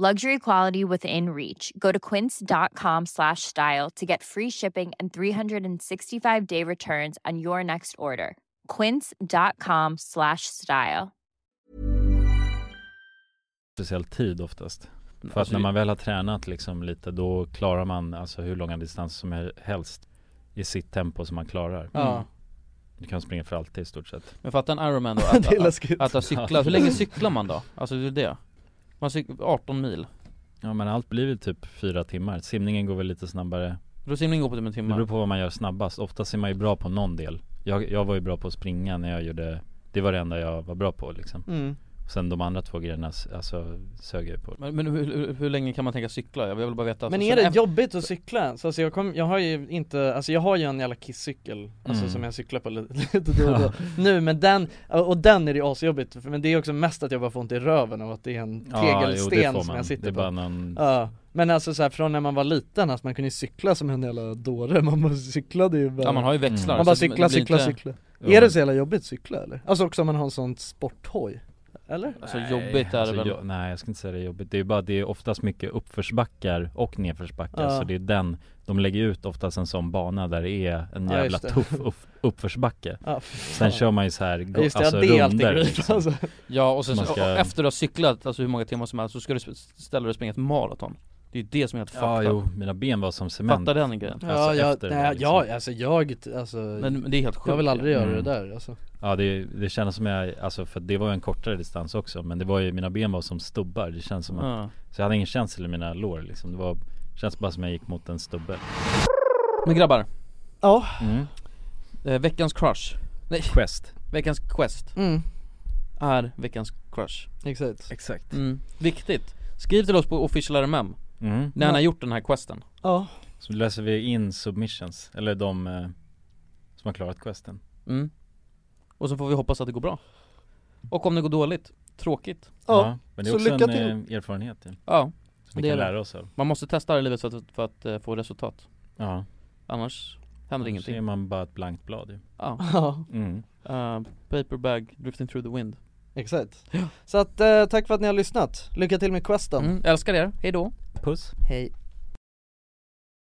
I: Luxury quality within reach. Go to quince.com slash style to get free shipping and 365 day returns on your next order. Quince.com slash style.
G: speciell tid oftast För att
B: Alltså,
G: när
B: vi-
G: man väl har tränat liksom lite då klarar man alltså hur långa distanser som hel- helst I sitt tempo som man klarar
B: Ja.
G: Du kan springa för alltid i stort sett
B: Men fatta en Ironman då, att,
G: *laughs* Det är
B: att,
G: läskigt.
B: att, ha cyklat, hur länge cyklar man då? Alltså det är det Man cyklar 18 mil,
G: Ja men allt blir väl typ fyra timmar, simningen går väl lite snabbare
B: då simning går på typ en
G: Det
B: timme
G: beror på vad man gör snabbast, oftast är man ju bra på någon del Jag, jag var ju bra på att springa när jag gjorde Det var det enda jag var bra på liksom
B: Mm.
G: Sen de andra två grejerna, s- alltså sög jag ju på
B: Men, men hur, hur, hur länge kan man tänka cykla? Jag vill bara veta
A: Men
B: alltså,
A: är
B: sen
A: det
B: efter-
A: jobbigt att cykla ens? Alltså jag, kom, jag har ju inte, alltså jag har ju en jävla kisscykel Alltså
B: Mm.
A: som jag cyklar på *laughs* lite, lite då och då
B: Ja.
A: Nu men den, och den är det ju asjobbigt för- Men det är också mest att jag bara får ont i röven av att det är en
G: Ja, jo, det
A: tegelsten
G: får
A: som
G: man.
A: jag sitter
G: Det är
A: på
G: bara någon-
A: Ja Men alltså så här, från när man var liten, alltså man kunde ju cykla som en jävla dåre Man bara cyklade ju bara
B: Ja, man har ju
G: Mm.
B: växlar,
A: Man bara
B: så det
A: cykla,
B: blir
A: cykla,
B: inte-
A: cykla
B: Jo.
A: Är det så jävla jobbigt att cykla eller? Alltså också om man har en sån sporthoj Eller?
G: Nej, alltså jo- nej jag ska inte säga det är jobbigt, det är ju bara det är oftast mycket uppförsbackar och nedförsbackar
A: Ja.
G: så det är den De lägger ut oftast en sån bana där det är en
A: Ja,
G: jävla
A: just det.
G: tuff upp, uppförsbacke
A: Ja, fy fan.
G: Sen kör man ju så här, go,
A: Ja, just det, ja,
G: alltså
A: det är alltid
G: runder
A: grymt, *laughs*
G: liksom.
A: alltså.
B: Ja och sen
G: Man
B: så,
G: ska-
B: och efter du har cyklat, alltså hur många timmar som helst, så ska du sp- ställa dig och springa ett maraton Det är ju det som är helt fucked
G: Ja
B: up.
G: jo, mina ben var som cement
B: Fattar den grejen?
A: Ja,
G: Alltså,
A: jag,
G: efter det
A: nej,
G: där, liksom.
A: ja alltså jag, alltså
B: Men- men det är helt
A: Jag
B: sjukt
A: vill
B: ju.
A: aldrig göra
G: Mm.
A: det där alltså
G: Ja det, det kändes som jag, alltså för det var ju en kortare distans också Men det var ju, mina ben var som stubbar, det känns som att
B: Ja.
G: Så jag hade ingen känsel i mina lår liksom, det var Känns bara som jag gick mot en stubbe
B: Men grabbar
A: Ja
B: Mm. eh, Veckans crush Nej
G: Quest
B: Veckans quest
A: Mm.
B: Är veckans crush
A: Exakt
G: Exakt
B: mm. Viktigt Skriv till oss på official RMM
G: Mm.
B: När han har gjort den här questen
A: Ja *laughs*
G: Så läser vi in submissions, eller de eh, som har klarat questen
B: mm. Och så får vi hoppas att det går bra Och om det går dåligt, tråkigt
G: Men det är också en eh, erfarenhet ju.
B: Ja
G: Som vi
B: det är
G: kan
B: det.
G: lära oss av
B: Man måste testa det i livet för att, för att eh, få resultat
G: Ja
B: Annars händer
G: Annars
B: ingenting
G: är man bara ett blankt blad ju
B: Ja,
A: Ja.
G: Mm.
B: Eh, Paperbag drifting through the wind
A: Exakt Så att, eh, tack för att ni har lyssnat Lycka till med questen
B: mm. Älskar er, hejdå
G: Puss
A: Hej